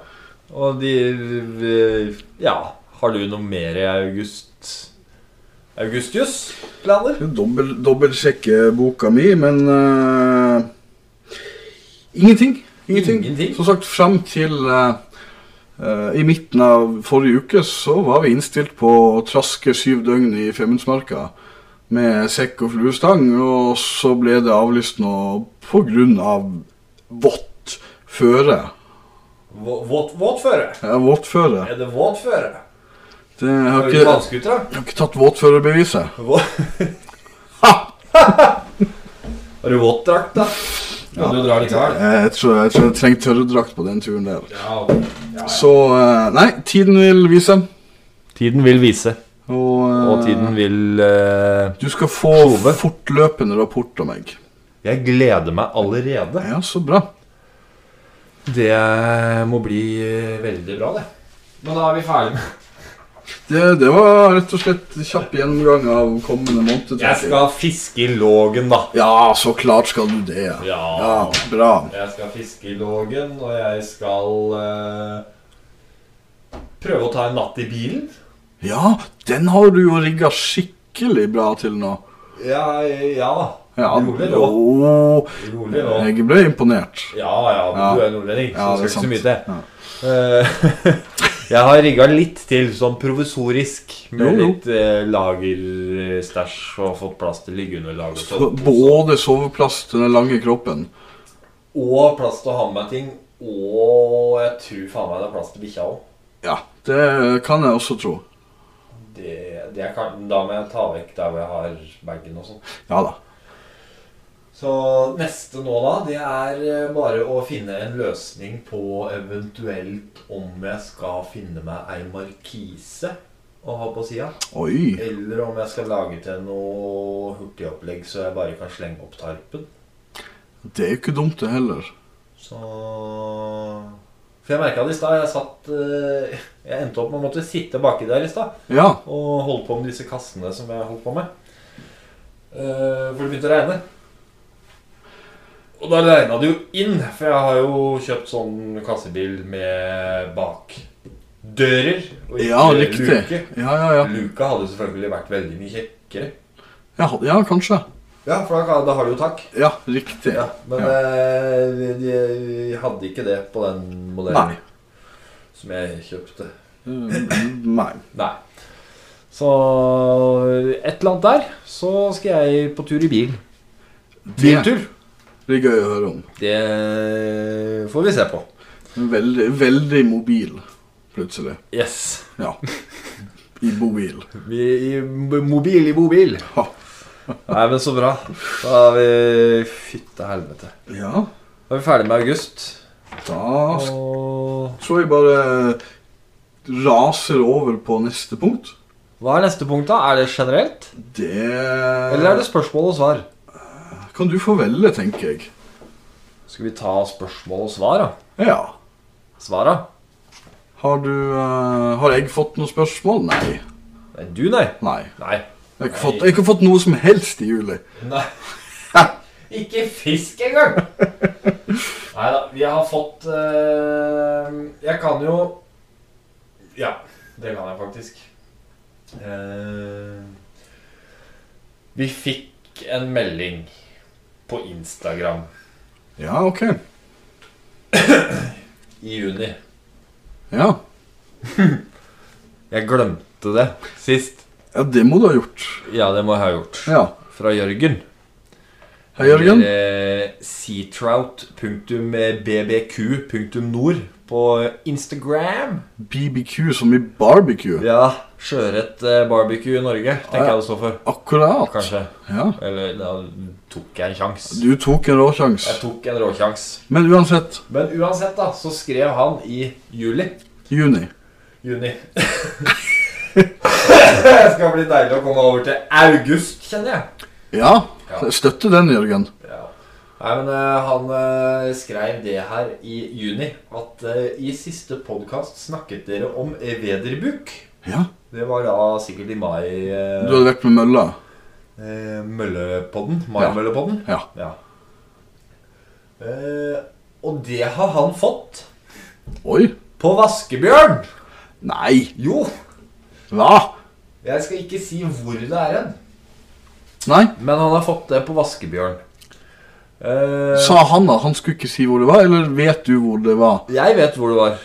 [SPEAKER 3] Og de Ja. Har du noe mer i august Augustius-planer?
[SPEAKER 2] Jeg dobbel- Dobbeltsjekke boka mi, men eh, ingenting. ingenting.
[SPEAKER 3] Ingenting?
[SPEAKER 2] Som sagt, fram til eh, eh, i midten av forrige uke så var vi innstilt på å traske syv døgn i Femundsmarka. med sekk og fluestang, og så ble det avlyst nå på grunn av vått føre.
[SPEAKER 3] Vå- Våt, våtføre.
[SPEAKER 2] Ja, vått føre.
[SPEAKER 3] Er det våtføre?
[SPEAKER 2] Det jeg har
[SPEAKER 3] Er
[SPEAKER 2] ikke,
[SPEAKER 3] det
[SPEAKER 2] jeg
[SPEAKER 3] vannskuter?
[SPEAKER 2] har ikke tatt våtførerbeviset.
[SPEAKER 3] Har du våtdrakt, da? Ja, du drar litt her.
[SPEAKER 2] Jeg tror jeg, tror jeg trenger tørrdrakt på den turen der.
[SPEAKER 3] Ja, ja.
[SPEAKER 2] Så eh, Nei, tiden vil vise.
[SPEAKER 3] Tiden vil vise,
[SPEAKER 2] Og, eh,
[SPEAKER 3] og tiden vil eh,
[SPEAKER 2] Du skal få
[SPEAKER 3] Sove.
[SPEAKER 2] fortløpende rapport om meg.
[SPEAKER 3] Jeg gleder meg allerede.
[SPEAKER 2] Ja, så bra.
[SPEAKER 3] Det må bli eh, veldig bra, det. Men da er vi ferdige med
[SPEAKER 2] Det, det var rett og slett kjapp gjennomgang av kommende måned. tror
[SPEAKER 3] Jeg skal fiske i lågen, da.
[SPEAKER 2] Ja, så klart skal du det. Ja, bra.
[SPEAKER 3] Jeg skal fiske i lågen, og jeg skal eh, prøve å ta en natt i bilen.
[SPEAKER 2] Ja, den har du jo rigga skikkelig bra til nå.
[SPEAKER 3] Ja, ja.
[SPEAKER 2] Ja,
[SPEAKER 3] Rolig nå.
[SPEAKER 2] jo,
[SPEAKER 3] Rolig nå.
[SPEAKER 2] jeg ble imponert.
[SPEAKER 3] Ja, ja, men
[SPEAKER 2] Ja.
[SPEAKER 3] du er nordlending, så
[SPEAKER 2] Ja,
[SPEAKER 3] det
[SPEAKER 2] det er
[SPEAKER 3] skal ikke så mye
[SPEAKER 2] sant.
[SPEAKER 3] til.
[SPEAKER 2] Ja.
[SPEAKER 3] Eh, <laughs> jeg har rigga litt til, sånn provisorisk. Med
[SPEAKER 2] Jo, jo.
[SPEAKER 3] litt eh, lagerstæsj og fått plass til liggeunderlag. og
[SPEAKER 2] Så
[SPEAKER 3] sånt.
[SPEAKER 2] Både soveplass til den lange kroppen.
[SPEAKER 3] Og plass til å ha med meg ting. Og jeg tror faen meg det er plass til bikkja òg.
[SPEAKER 2] Ja, det kan jeg også tro.
[SPEAKER 3] Det, det er kan- da må jeg ta vekk der hvor jeg har bagen og sånn.
[SPEAKER 2] Ja da.
[SPEAKER 3] Så neste nå, da, det er eh, bare å finne en løsning på eventuelt om jeg skal finne meg ei markise å ha på sida.
[SPEAKER 2] Oi.
[SPEAKER 3] Eller om jeg skal lage til noe hurtigopplegg så jeg bare kan slenge opp tarpen.
[SPEAKER 2] Det er jo ikke dumt, det heller.
[SPEAKER 3] Så For jeg merka det i stad. Jeg satt eh, Jeg endte opp med å måtte sitte baki der i stad
[SPEAKER 2] Ja.
[SPEAKER 3] og holde på med disse kassene som jeg holdt på med. Eh, For det begynte å regne. Og da regna det jo inn, for jeg har jo kjøpt sånn kassebil med bakdører. og ikke
[SPEAKER 2] Ja, riktig.
[SPEAKER 3] Luke.
[SPEAKER 2] Ja, ja, ja.
[SPEAKER 3] Luka hadde selvfølgelig vært veldig mye kjekkere.
[SPEAKER 2] Ja, ja kanskje.
[SPEAKER 3] Ja, for da, kan- da har du jo takk.
[SPEAKER 2] Ja, riktig.
[SPEAKER 3] Ja, men eh, vi- de, vi hadde ikke det på den modellen
[SPEAKER 2] Nei.
[SPEAKER 3] som jeg kjøpte.
[SPEAKER 2] Mm, Nei.
[SPEAKER 3] Nei. Så et eller annet der, så skal jeg på tur i bil.
[SPEAKER 2] Det
[SPEAKER 3] Biltur.
[SPEAKER 2] blir gøy å høre om.
[SPEAKER 3] Det får vi se på.
[SPEAKER 2] Veldig, veldig mobil, plutselig.
[SPEAKER 3] Yes.
[SPEAKER 2] Ja. I mobil.
[SPEAKER 3] Vi, i, mobil i bobil.
[SPEAKER 2] Ha.
[SPEAKER 3] Nei, men så bra. Da er vi Fytte helvete.
[SPEAKER 2] Ja,
[SPEAKER 3] Da er vi ferdig med august.
[SPEAKER 2] da s-
[SPEAKER 3] Og
[SPEAKER 2] tror jeg bare raser over på neste punkt.
[SPEAKER 3] hva er neste punkt, da? Er det generelt?
[SPEAKER 2] Det
[SPEAKER 3] Eller er det spørsmål og svar?
[SPEAKER 2] kan du få velge, tenker jeg.
[SPEAKER 3] Skal vi ta spørsmål og svar, da?
[SPEAKER 2] Ja.
[SPEAKER 3] Svara?
[SPEAKER 2] Har du eh, Har jeg fått noen spørsmål? Nei.
[SPEAKER 3] Nei, du, nei.
[SPEAKER 2] Nei.
[SPEAKER 3] Nei.
[SPEAKER 2] Jeg har ikke fått, jeg har ikke fått noe som helst i juli.
[SPEAKER 3] nei. <laughs> Ikke fisk engang! nei da, vi har fått eh, Jeg kan jo Ja, det kan jeg faktisk. Eh, vi fikk en melding på Instagram
[SPEAKER 2] Ja, OK.
[SPEAKER 3] i juni.
[SPEAKER 2] Ja.
[SPEAKER 3] Jeg glemte det sist.
[SPEAKER 2] ja, det må du ha gjort.
[SPEAKER 3] Ja, det må jeg ha gjort.
[SPEAKER 2] Ja.
[SPEAKER 3] Fra Jørgen.
[SPEAKER 2] Hei, Jørgen.
[SPEAKER 3] Eller, eh, Seatrout.bbq.nord på Instagram.
[SPEAKER 2] BBQ som i barbecue.
[SPEAKER 3] Ja. Sjøørret eh, barbecue i Norge, tenker
[SPEAKER 2] Ah, ja.
[SPEAKER 3] jeg det står for.
[SPEAKER 2] Akkurat.
[SPEAKER 3] Kanskje.
[SPEAKER 2] Ja.
[SPEAKER 3] Eller da tok jeg en sjanse.
[SPEAKER 2] Du tok en råsjanse.
[SPEAKER 3] Jeg tok en råsjanse.
[SPEAKER 2] Men uansett,
[SPEAKER 3] Men uansett, da, så skrev han i juli.
[SPEAKER 2] juni.
[SPEAKER 3] Juni. det <laughs> skal bli deilig å komme over til august, kjenner jeg.
[SPEAKER 2] Ja,
[SPEAKER 3] Ja.
[SPEAKER 2] støtte den, Jørgen.
[SPEAKER 3] Ja. Nei, men eh, han eh, skrev det her i juni, at eh, i siste podkast snakket dere om vederbuk.
[SPEAKER 2] Ja,
[SPEAKER 3] Det var da sikkert i mai eh,
[SPEAKER 2] Du
[SPEAKER 3] uh,
[SPEAKER 2] hadde vært med mølla?
[SPEAKER 3] Møllepodden.
[SPEAKER 2] Ja.
[SPEAKER 3] Mai-møllepodden.
[SPEAKER 2] Ja.
[SPEAKER 3] Ja. Eh, og det har han fått
[SPEAKER 2] Oi.
[SPEAKER 3] på vaskebjørn.
[SPEAKER 2] Nei.
[SPEAKER 3] Jo,
[SPEAKER 2] Hva?
[SPEAKER 3] jeg skal ikke si hvor det er hen,
[SPEAKER 2] Nei.
[SPEAKER 3] men han har fått det på vaskebjørn. Eh,
[SPEAKER 2] Sa han at han skulle ikke si hvor det var, eller vet du hvor det var?
[SPEAKER 3] jeg vet hvor det var.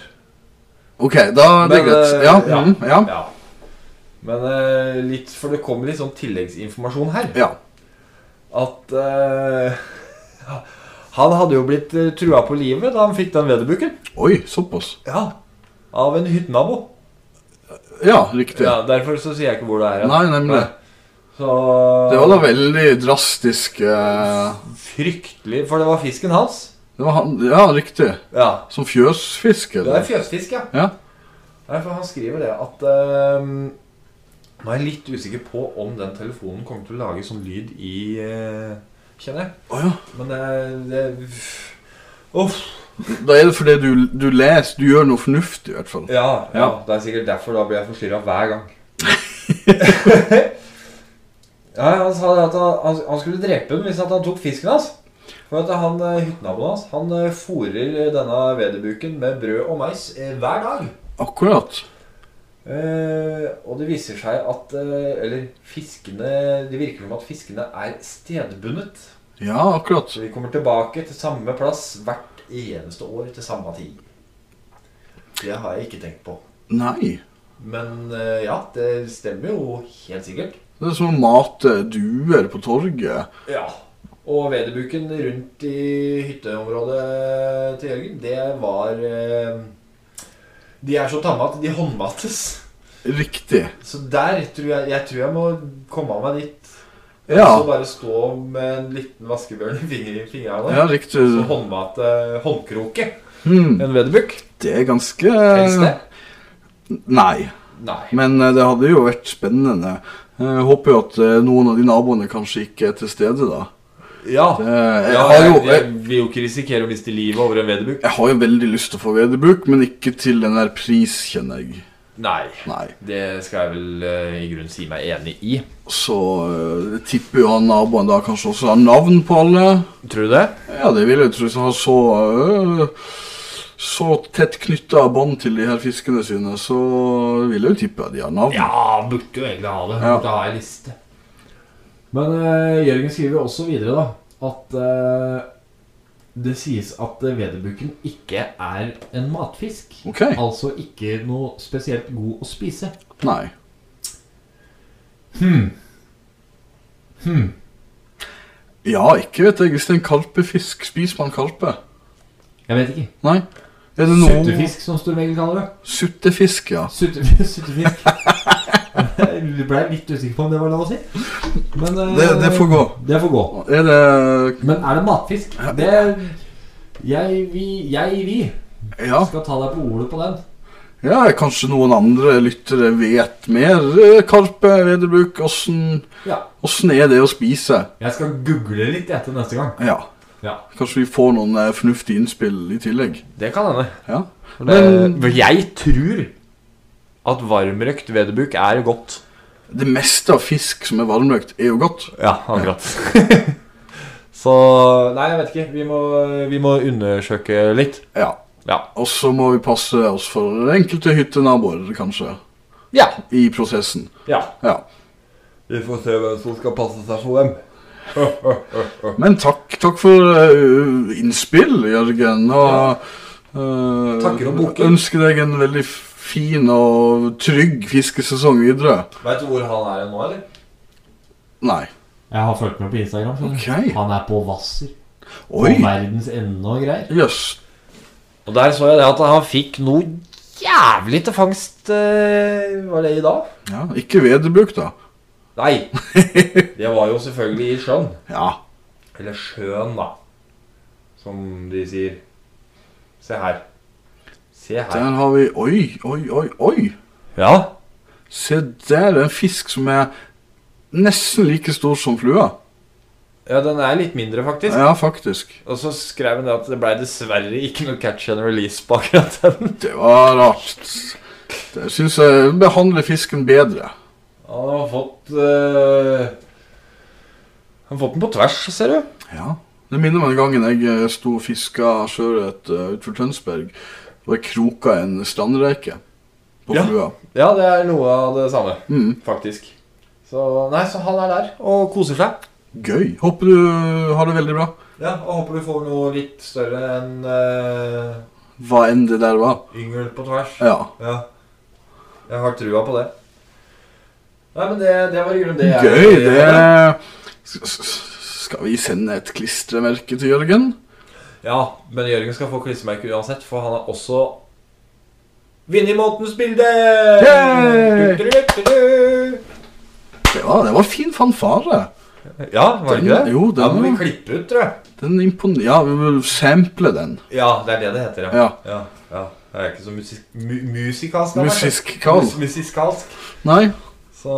[SPEAKER 2] Ok, da er det
[SPEAKER 3] Men,
[SPEAKER 2] greit.
[SPEAKER 3] eh,
[SPEAKER 2] Ja.
[SPEAKER 3] ja.
[SPEAKER 2] mm, ja.
[SPEAKER 3] Ja. Men eh, litt, for det kom litt sånn tilleggsinformasjon her.
[SPEAKER 2] Ja.
[SPEAKER 3] At eh, <laughs> Han hadde jo blitt eh, trua på livet da han fikk den vederbukken.
[SPEAKER 2] Oi, såpass.
[SPEAKER 3] Ja. Av en hyttenabo.
[SPEAKER 2] Ja, riktig.
[SPEAKER 3] Ja, derfor så sier jeg ikke hvor det er. hen.
[SPEAKER 2] Nei, nemlig.
[SPEAKER 3] Nei. Så
[SPEAKER 2] Det var da veldig drastisk eh,
[SPEAKER 3] Fryktelig. For det var fisken hans.
[SPEAKER 2] det var han, Ja, riktig.
[SPEAKER 3] Ja.
[SPEAKER 2] Som fjøsfiske.
[SPEAKER 3] Det er
[SPEAKER 2] eller?
[SPEAKER 3] fjøsfisk, ja.
[SPEAKER 2] Ja.
[SPEAKER 3] Nei, for han skriver det at ehm, Nå er jeg litt usikker på om den telefonen kommer til å lage sånn lyd i eh, Kjenner jeg.
[SPEAKER 2] Å ja.
[SPEAKER 3] Men det, det Uff.
[SPEAKER 2] Da er det fordi du, du leser Du gjør noe fornuftig, i hvert fall.
[SPEAKER 3] Ja, ja,
[SPEAKER 2] Ja.
[SPEAKER 3] det er sikkert derfor da blir jeg forstyrra hver gang. ja, Han sa det at han, han, han skulle drepe den hvis at han tok fisken hans. For at han, eh, Hyttenaboen hans han eh, fôrer denne vederbuken med brød og mais eh, hver dag.
[SPEAKER 2] Akkurat.
[SPEAKER 3] Eh, og det viser seg at eh, Eller fiskene Det virker som at fiskene er stedbundet.
[SPEAKER 2] Ja, akkurat.
[SPEAKER 3] Så vi kommer tilbake til samme plass hvert eneste år til samme tid. Det har jeg ikke tenkt på.
[SPEAKER 2] Nei.
[SPEAKER 3] Men eh, ja, det stemmer jo helt sikkert.
[SPEAKER 2] Det er som å mate duer på torget.
[SPEAKER 3] Ja. Og vederbuken rundt i hytteområdet til Jørgen, det var eh, De er så tamme at de håndmates.
[SPEAKER 2] Riktig.
[SPEAKER 3] Så der tror jeg Jeg tror jeg må komme av meg dit.
[SPEAKER 2] Ja.
[SPEAKER 3] Så bare stå med en liten vaskebjørn i finger- i fingrene.
[SPEAKER 2] Ja, riktig.
[SPEAKER 3] Så håndmate håndkroke.
[SPEAKER 2] Hmm.
[SPEAKER 3] En vederbuk.
[SPEAKER 2] Det er ganske
[SPEAKER 3] Helst det.
[SPEAKER 2] Nei.
[SPEAKER 3] Nei.
[SPEAKER 2] Men eh, det hadde jo vært spennende. Jeg håper jo at eh, noen av de naboene kanskje ikke er til stede, da.
[SPEAKER 3] Ja.
[SPEAKER 2] Det, jeg,
[SPEAKER 3] ja
[SPEAKER 2] har
[SPEAKER 3] jeg,
[SPEAKER 2] jo, jeg,
[SPEAKER 3] jeg vil jo ikke risikere å miste livet over en vederbuk.
[SPEAKER 2] jeg har jo veldig lyst til å få vederbruk, men ikke til den der pris, kjenner jeg.
[SPEAKER 3] Nei.
[SPEAKER 2] Nei.
[SPEAKER 3] Det skal jeg vel eh, i grunnen si meg enig i.
[SPEAKER 2] Så eh, jeg tipper jo han naboen da kanskje også har navn på alle.
[SPEAKER 3] Tror du det?
[SPEAKER 2] Ja, det vil jeg tro. Som har så eh, så tett knytta bånd til de her fiskene sine, så vil jeg jo tippe at de har navn.
[SPEAKER 3] Ja, burde jo egentlig ha det.
[SPEAKER 2] Ja.
[SPEAKER 3] Burde ha ei liste. Men eh, Jørgen skriver også videre da at eh, det sies at eh, vederbukken ikke er en matfisk.
[SPEAKER 2] Ok.
[SPEAKER 3] Altså ikke noe spesielt god å spise.
[SPEAKER 2] Nei.
[SPEAKER 3] Hmm.
[SPEAKER 2] Ja, ikke vet jeg. Hvis det er en kalpefisk, spiser man kalpe?
[SPEAKER 3] Jeg vet ikke.
[SPEAKER 2] Nei. Er det noe
[SPEAKER 3] Suttefisk, som Stormegel kaller det.
[SPEAKER 2] Suttefisk, ja.
[SPEAKER 3] Sutte-
[SPEAKER 2] <laughs>
[SPEAKER 3] <laughs> Suttefisk. Jeg ble litt usikker på om det var lov å si. Men eh,
[SPEAKER 2] Det, det får gå.
[SPEAKER 3] det får gå.
[SPEAKER 2] Er det
[SPEAKER 3] Men er det matfisk? Det Jeg, vi, jeg, vi
[SPEAKER 2] Ja.
[SPEAKER 3] skal ta deg på ordet på den.
[SPEAKER 2] ja, kanskje noen andre lyttere vet mer. eh, Karpe, vederbruk, åssen
[SPEAKER 3] Ja.
[SPEAKER 2] Åssen er det å spise?
[SPEAKER 3] Jeg skal google litt etter neste gang.
[SPEAKER 2] Ja.
[SPEAKER 3] Ja.
[SPEAKER 2] Kanskje vi får noen eh, fornuftige innspill i tillegg.
[SPEAKER 3] Det kan hende.
[SPEAKER 2] Ja.
[SPEAKER 3] Men
[SPEAKER 2] Men-
[SPEAKER 3] jeg tror at varmrøkt vederbuk er godt.
[SPEAKER 2] Det meste av fisk som er varmrøkt, er jo godt.
[SPEAKER 3] Ja, <laughs> akkurat. Så Nei, jeg vet ikke. Vi må, vi må undersøke litt.
[SPEAKER 2] Ja.
[SPEAKER 3] Ja.
[SPEAKER 2] Og så må vi passe oss for enkelte hyttenaboer, kanskje,
[SPEAKER 3] Ja.
[SPEAKER 2] i prosessen.
[SPEAKER 3] ja.
[SPEAKER 2] Ja.
[SPEAKER 3] Vi får se hvem som skal passe seg for hvem.
[SPEAKER 2] Men takk, takk for eh, innspill, Jørgen. Og eh,
[SPEAKER 3] Takker og boker.
[SPEAKER 2] ønsker deg en veldig fin og trygg fiskesesong videre.
[SPEAKER 3] Veit du hvor han er nå, eller?
[SPEAKER 2] Nei.
[SPEAKER 4] Jeg har fulgt med på Instagram. skjønner du.
[SPEAKER 2] Ok.
[SPEAKER 4] Han er på Hvasser. På
[SPEAKER 2] Oi!
[SPEAKER 4] verdens ende og greier.
[SPEAKER 2] Jøss.
[SPEAKER 3] Og der så jeg det at han fikk noe jævlig til fangst eh, Var det i dag?
[SPEAKER 2] Ja, ikke vederbruk, da.
[SPEAKER 3] Nei. Det var jo selvfølgelig i sjøen.
[SPEAKER 2] Ja.
[SPEAKER 3] Eller sjøen, da. Som de sier. Se her. Se her.
[SPEAKER 2] Der har vi Oi, oi, oi, oi!
[SPEAKER 3] Ja.
[SPEAKER 2] Se der, en fisk som er nesten like stor som flua.
[SPEAKER 3] ja, den er litt mindre, faktisk.
[SPEAKER 2] Ja, faktisk.
[SPEAKER 3] Og så skrev han det at det ble dessverre ikke noe catch and release på akkurat den.
[SPEAKER 2] Det var rart. Det syns jeg behandler fisken bedre.
[SPEAKER 3] Han har fått eh, Han har fått den på tvers, ser du.
[SPEAKER 2] Ja. Det minner meg om gangen jeg eh, sto og fiska sjøørret eh, utenfor Tønsberg. Og jeg kroka en strandreike på
[SPEAKER 3] Ja.
[SPEAKER 2] flua.
[SPEAKER 3] Ja, det er noe av det samme,
[SPEAKER 2] Mm.
[SPEAKER 3] faktisk. Så nei, så han er der og koser seg.
[SPEAKER 2] Gøy. Håper du har det veldig bra.
[SPEAKER 3] Ja, og håper du får noe litt større enn eh,
[SPEAKER 2] Hva enn det der var.
[SPEAKER 3] yngel på tvers.
[SPEAKER 2] Ja.
[SPEAKER 3] Ja. Jeg har trua på det. Nei, men det, det var i grunnen det jeg
[SPEAKER 2] Gøy! Det er- S- s- Skal vi sende et klistremerke til Jørgen?
[SPEAKER 3] Ja, men Jørgen skal få klistremerke uansett, for han har også vunnet månedens bilde!
[SPEAKER 2] Yay!
[SPEAKER 3] Du, du, du, du.
[SPEAKER 2] Det var, det var fin fanfare.
[SPEAKER 3] Ja, var det ikke det?
[SPEAKER 2] Den- jo, den
[SPEAKER 3] Da må vi
[SPEAKER 2] var-
[SPEAKER 3] klippe ut, tror jeg.
[SPEAKER 2] Den imponerer Ja, vi vil sample den.
[SPEAKER 3] Ja, det er det det heter, ja.
[SPEAKER 2] Ja.
[SPEAKER 3] ja. ja. Jeg er ikke så musi mu musikalsk. da,
[SPEAKER 2] Musisk
[SPEAKER 3] kanskje.
[SPEAKER 2] kall.
[SPEAKER 3] Mus musiskalsk.
[SPEAKER 2] Nei?
[SPEAKER 3] Så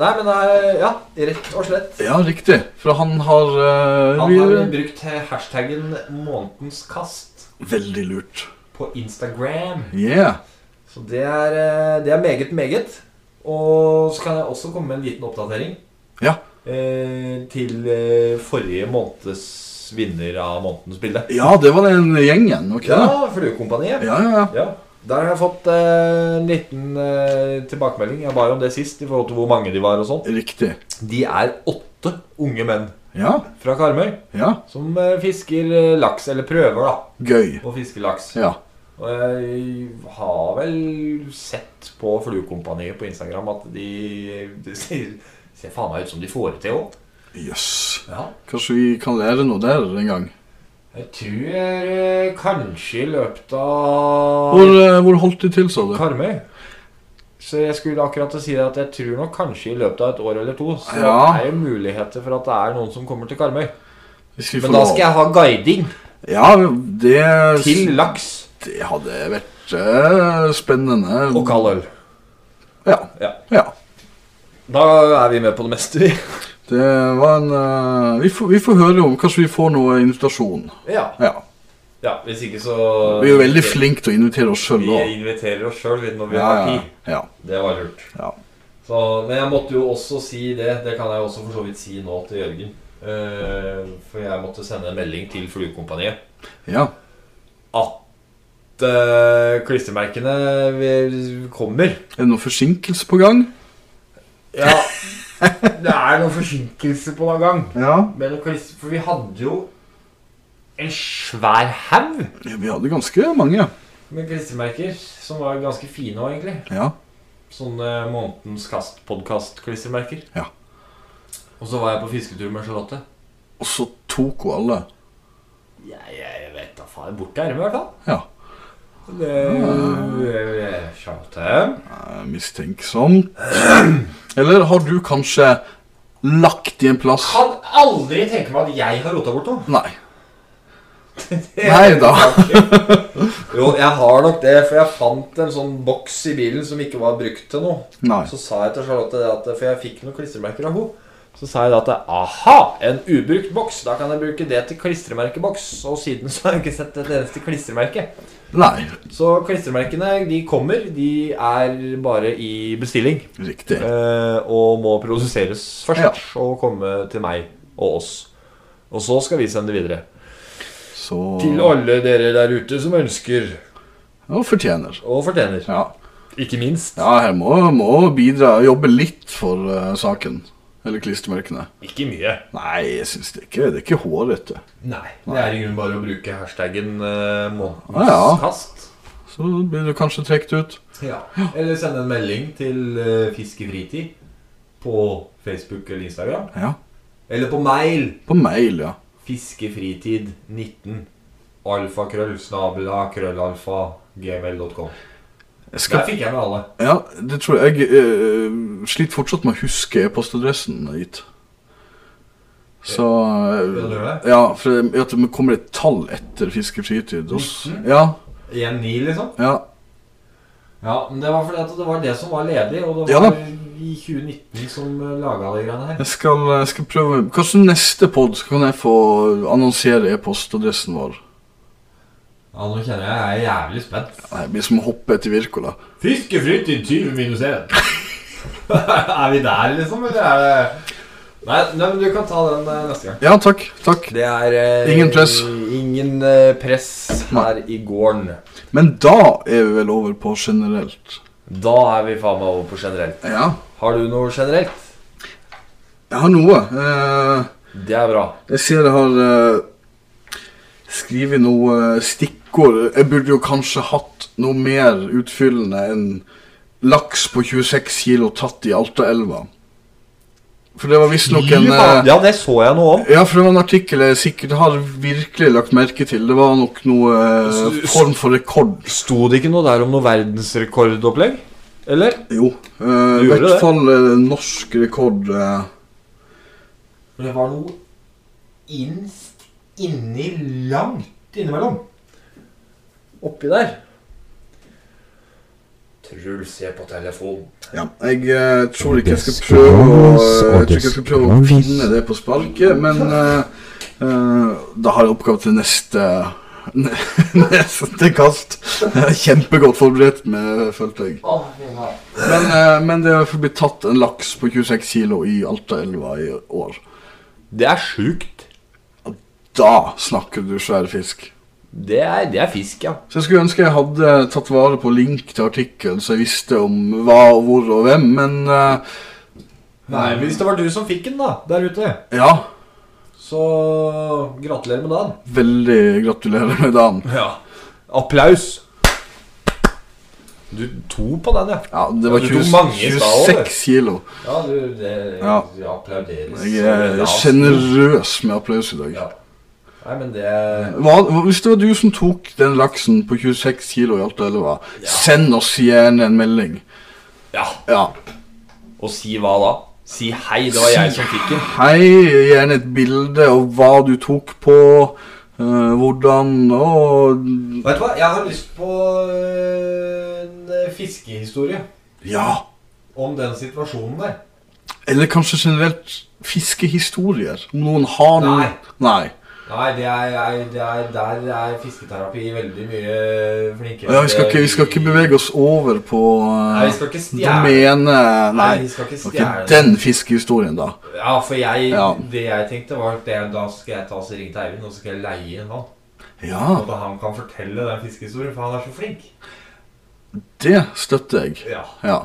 [SPEAKER 3] Nei, men det er Ja, rett og slett.
[SPEAKER 2] Ja, riktig. For han har, eh,
[SPEAKER 3] Han har
[SPEAKER 2] vi-
[SPEAKER 3] brukt hashtaggen 'månedens kast'
[SPEAKER 2] Veldig lurt.
[SPEAKER 3] på Instagram.
[SPEAKER 2] Yeah.
[SPEAKER 3] Så det er, eh, det er meget, meget. Og så kan jeg også komme med en liten oppdatering.
[SPEAKER 2] Ja.
[SPEAKER 3] Eh, til eh, forrige måneds vinner av månedens bilde.
[SPEAKER 2] Ja, det var den gjengen, ok? Ja,
[SPEAKER 3] Ja, Fluekompaniet.
[SPEAKER 2] ja, ja.
[SPEAKER 3] Ja. Der har jeg fått eh, en liten eh, tilbakemelding. Jeg ba jo om det sist i forhold til hvor mange de var. og sånt
[SPEAKER 2] Riktig.
[SPEAKER 3] De er åtte unge menn
[SPEAKER 2] Ja,
[SPEAKER 3] fra Karmøy
[SPEAKER 2] ja.
[SPEAKER 3] som eh, fisker eh, laks. Eller prøver, da,
[SPEAKER 2] Gøy.
[SPEAKER 3] å fiske laks.
[SPEAKER 2] Ja.
[SPEAKER 3] Og jeg har vel sett på Fluekompaniet på Instagram at de, de ser, ser faen meg ut som de får det til òg.
[SPEAKER 2] Jøss.
[SPEAKER 3] Ja.
[SPEAKER 2] Kanskje vi kan lære noe der en gang?
[SPEAKER 3] Jeg tror eh, kanskje i løpet av
[SPEAKER 2] Hvor, eh, hvor holdt de til, sa du?
[SPEAKER 3] Karmøy. Så jeg skulle akkurat til å si det at jeg tror nok kanskje i løpet av et år eller to så
[SPEAKER 2] Ja.
[SPEAKER 3] er det muligheter for at det er noen som kommer til Karmøy.
[SPEAKER 2] Hvis vi får
[SPEAKER 3] Men da
[SPEAKER 2] lov.
[SPEAKER 3] skal jeg ha guiding
[SPEAKER 2] Ja, det
[SPEAKER 3] til laks
[SPEAKER 2] Det hadde vært eh, spennende.
[SPEAKER 3] og kald øl.
[SPEAKER 2] Ja.
[SPEAKER 3] Ja.
[SPEAKER 2] ja.
[SPEAKER 3] Da er vi med på det meste, vi.
[SPEAKER 2] Det var en eh, vi, får, vi får høre om Kanskje vi får noe invitasjon.
[SPEAKER 3] <laughs> Ja.
[SPEAKER 2] Ja.
[SPEAKER 3] ja. Hvis ikke så
[SPEAKER 2] Vi er jo veldig flinke til å invitere oss sjøl
[SPEAKER 3] Vi
[SPEAKER 2] òg.
[SPEAKER 3] inviterer oss sjøl når vi
[SPEAKER 2] Ja,
[SPEAKER 3] har
[SPEAKER 2] ja,
[SPEAKER 3] tid.
[SPEAKER 2] ja.
[SPEAKER 3] Det var lurt.
[SPEAKER 2] Ja.
[SPEAKER 3] Så, men jeg måtte jo også si det. Det kan jeg jo også for så vidt si nå til Jørgen. Eh, for jeg måtte sende en melding til Fluekompaniet
[SPEAKER 2] ja.
[SPEAKER 3] at eh, klistremerkene vil- kommer.
[SPEAKER 2] Er det noen forsinkelse på gang?
[SPEAKER 3] Ja, det er noen forsinkelse på noen gang.
[SPEAKER 2] Ja.
[SPEAKER 3] Men klis- for vi hadde jo en svær haug
[SPEAKER 2] Vi hadde ganske mange.
[SPEAKER 3] med klistremerker som var ganske fine òg, egentlig.
[SPEAKER 2] Ja.
[SPEAKER 3] Sånne månedens kast-podkast-klistremerker.
[SPEAKER 2] Ja.
[SPEAKER 3] Og så var jeg på fisketur med Charlotte.
[SPEAKER 2] Og så tok hun alle.
[SPEAKER 3] Jeg, jeg vet da faen. Borti ermet, i hvert fall.
[SPEAKER 2] Ja.
[SPEAKER 3] Det- Charlotte
[SPEAKER 2] Eh, Mistenksomt. Eller har du kanskje lagt i en plass
[SPEAKER 3] Kan aldri tenke meg at jeg har rota bort noe.
[SPEAKER 2] Nei. Nei da.
[SPEAKER 3] Jo, jeg har nok det, for jeg fant en sånn boks i bilen som ikke var brukt til noe.
[SPEAKER 2] Nei.
[SPEAKER 3] Så sa jeg til Charlotte det at For jeg fikk noen klistremerker av henne. Så sa jeg da at aha, en ubrukt boks. Da kan jeg bruke det til klistremerkeboks. Og siden så har jeg ikke sett et eneste klistremerke.
[SPEAKER 2] Nei.
[SPEAKER 3] Så klistremerkene de kommer. De er bare i bestilling.
[SPEAKER 2] Riktig.
[SPEAKER 3] eh, Og må produseres først.
[SPEAKER 2] Ja.
[SPEAKER 3] Og komme til meg og oss. Og så skal vi sende det videre.
[SPEAKER 2] Så
[SPEAKER 3] Til alle dere der ute som ønsker
[SPEAKER 2] Og fortjener.
[SPEAKER 3] og fortjener.
[SPEAKER 2] Ja.
[SPEAKER 3] Ikke minst.
[SPEAKER 2] Ja, her må, må bidra jobbe litt for eh, saken. Eller klistremerkene.
[SPEAKER 3] Ikke mye.
[SPEAKER 2] Nei, jeg syns det ikke. Det er ikke hårete.
[SPEAKER 3] Nei. Det er i grunnen bare å bruke hashtaggen eh, månedens
[SPEAKER 2] Ah, ja.
[SPEAKER 3] kast.
[SPEAKER 2] Så blir du kanskje trukket ut.
[SPEAKER 3] Ja. Eller sende en melding til eh, Fiskefritid på Facebook eller Instagram.
[SPEAKER 2] Ja.
[SPEAKER 3] Eller på mail
[SPEAKER 2] På mail, ja.
[SPEAKER 3] fiskefritid19 alfakrøll snabela krøllalfa gmail.com.
[SPEAKER 2] Jeg
[SPEAKER 3] Der
[SPEAKER 2] skal,
[SPEAKER 3] fikk jeg med alle.
[SPEAKER 2] ja, det tror jeg Jeg eh, sliter fortsatt med å huske e-postadressen hit. Så eh,
[SPEAKER 3] Ja, det gjør det.
[SPEAKER 2] Ja, for jeg- at det kommer et tall etter Fiskefritid. og s-
[SPEAKER 3] Mhm.
[SPEAKER 2] Ja,
[SPEAKER 3] 1-9, liksom.
[SPEAKER 2] ja.
[SPEAKER 3] Ja, men det var fordi at det var det som var ledig, og det
[SPEAKER 2] Ja
[SPEAKER 3] var
[SPEAKER 2] da.
[SPEAKER 3] i 2019 som laga de greiene her.
[SPEAKER 2] Jeg skal, jeg skal prøve Kanskje neste pod så kan jeg få annonsere e-postadressen vår.
[SPEAKER 3] Ja, nå kjenner jeg jeg er jævlig spent.
[SPEAKER 2] Det blir som å hoppe etter Wirkola.
[SPEAKER 3] Fiskefritid 20 minus 1. <laughs> er vi der, liksom, eller er det Nei, nei, men du kan ta den eh, neste gang.
[SPEAKER 2] Ja, takk. takk.
[SPEAKER 3] Det er eh,
[SPEAKER 2] Ingen press.
[SPEAKER 3] Ingen eh, press her i gården.
[SPEAKER 2] Men da er vi vel over på generelt.
[SPEAKER 3] Da er vi faen meg over på generelt.
[SPEAKER 2] Ja.
[SPEAKER 3] Har du noe generelt?
[SPEAKER 2] Jeg har noe. Eh,
[SPEAKER 3] Det er bra.
[SPEAKER 2] Jeg ser jeg har eh, skrevet noe stikkord. Jeg burde jo kanskje hatt noe mer utfyllende enn laks på 26 kilo tatt i Altaelva. For det var visstnok en eh,
[SPEAKER 3] Ja, det så jeg noe om.
[SPEAKER 2] Ja, for det var en artikkel jeg sikkert har virkelig lagt merke til. Det var nok noe eh,
[SPEAKER 3] S- s-
[SPEAKER 2] form for rekord.
[SPEAKER 3] Sto det ikke noe der om noe verdensrekordopplegg? Eller?
[SPEAKER 2] Jo. eh, I
[SPEAKER 3] gjorde
[SPEAKER 2] hvert
[SPEAKER 3] det?
[SPEAKER 2] fall eh, norsk rekord. eh,
[SPEAKER 4] Men det var noe innst inni langt innimellom.
[SPEAKER 3] Oppi der. Truls er på telefon.
[SPEAKER 2] Ja, jeg eh, tror ikke jeg skal prøve å, eh, jeg tror ikke jeg skal prøve å finne det på sparket, men eh, eh, da har jeg oppgave til neste <laughs> neste kast. Jeg er Kjempegodt forberedt med, følte jeg. Men, eh, men det er i hvert fall blitt tatt en laks på 26 kilo i Altaelva i år.
[SPEAKER 3] Det er sjukt.
[SPEAKER 2] Da snakker du svære fisk.
[SPEAKER 3] Det er, det er fisk, ja.
[SPEAKER 2] Så jeg skulle ønske jeg hadde tatt vare på link til artikkelen, så jeg visste om hva og hvor og hvem, men eh,
[SPEAKER 3] Nei, men Hvis det var du som fikk den, da, der ute,
[SPEAKER 2] ja.
[SPEAKER 3] så gratulerer med dagen.
[SPEAKER 2] Veldig gratulerer med dagen.
[SPEAKER 3] Ja. Applaus. Du to på den, ja.
[SPEAKER 2] Ja, det
[SPEAKER 3] Ja,
[SPEAKER 2] var
[SPEAKER 3] du
[SPEAKER 2] 20,
[SPEAKER 3] tok mange i stad også, du.
[SPEAKER 2] 26 kilo.
[SPEAKER 3] Ja, eh, du, det,
[SPEAKER 2] Ja.
[SPEAKER 3] det applauderes.
[SPEAKER 2] Jeg er sjenerøs med applaus i dag.
[SPEAKER 3] Ja. Nei, men det
[SPEAKER 2] Hva, hva- hvis det var du som tok den laksen på 26 kilo i Altaelva,
[SPEAKER 3] Ja.
[SPEAKER 2] send oss gjerne en melding.
[SPEAKER 3] Ja.
[SPEAKER 2] Ja.
[SPEAKER 3] Og si hva da? Si hei, det var jeg som fikk den.
[SPEAKER 2] Hei, gjerne et bilde av hva du tok på, eh, hvordan og
[SPEAKER 3] Vet du hva, jeg har lyst på eh, en fiskehistorie
[SPEAKER 2] Ja.
[SPEAKER 3] om den situasjonen der.
[SPEAKER 2] Eller kanskje generelt fiskehistorier. Om noen har noen
[SPEAKER 3] Nei.
[SPEAKER 2] Nei.
[SPEAKER 3] Nei, det er, jeg- det er, der er fisketerapi veldig mye flinkere.
[SPEAKER 2] Ja, vi, skal ikke, vi skal ikke bevege oss over på
[SPEAKER 3] Nei,
[SPEAKER 2] uh,
[SPEAKER 3] vi skal ikke stjele.
[SPEAKER 2] domene Nei.
[SPEAKER 3] vi skal ikke
[SPEAKER 2] Ok,
[SPEAKER 3] stjele.
[SPEAKER 2] den fiskehistorien, da.
[SPEAKER 3] Ja, for jeg,
[SPEAKER 2] Ja.
[SPEAKER 3] det jeg tenkte var at det- da skal jeg ta oss ringe til Eivind og så skal jeg leie inn han.
[SPEAKER 2] Ja,
[SPEAKER 3] Og da han kan fortelle den fiskehistorien, for han er så flink.
[SPEAKER 2] det støtter jeg.
[SPEAKER 3] Ja.
[SPEAKER 2] Ja.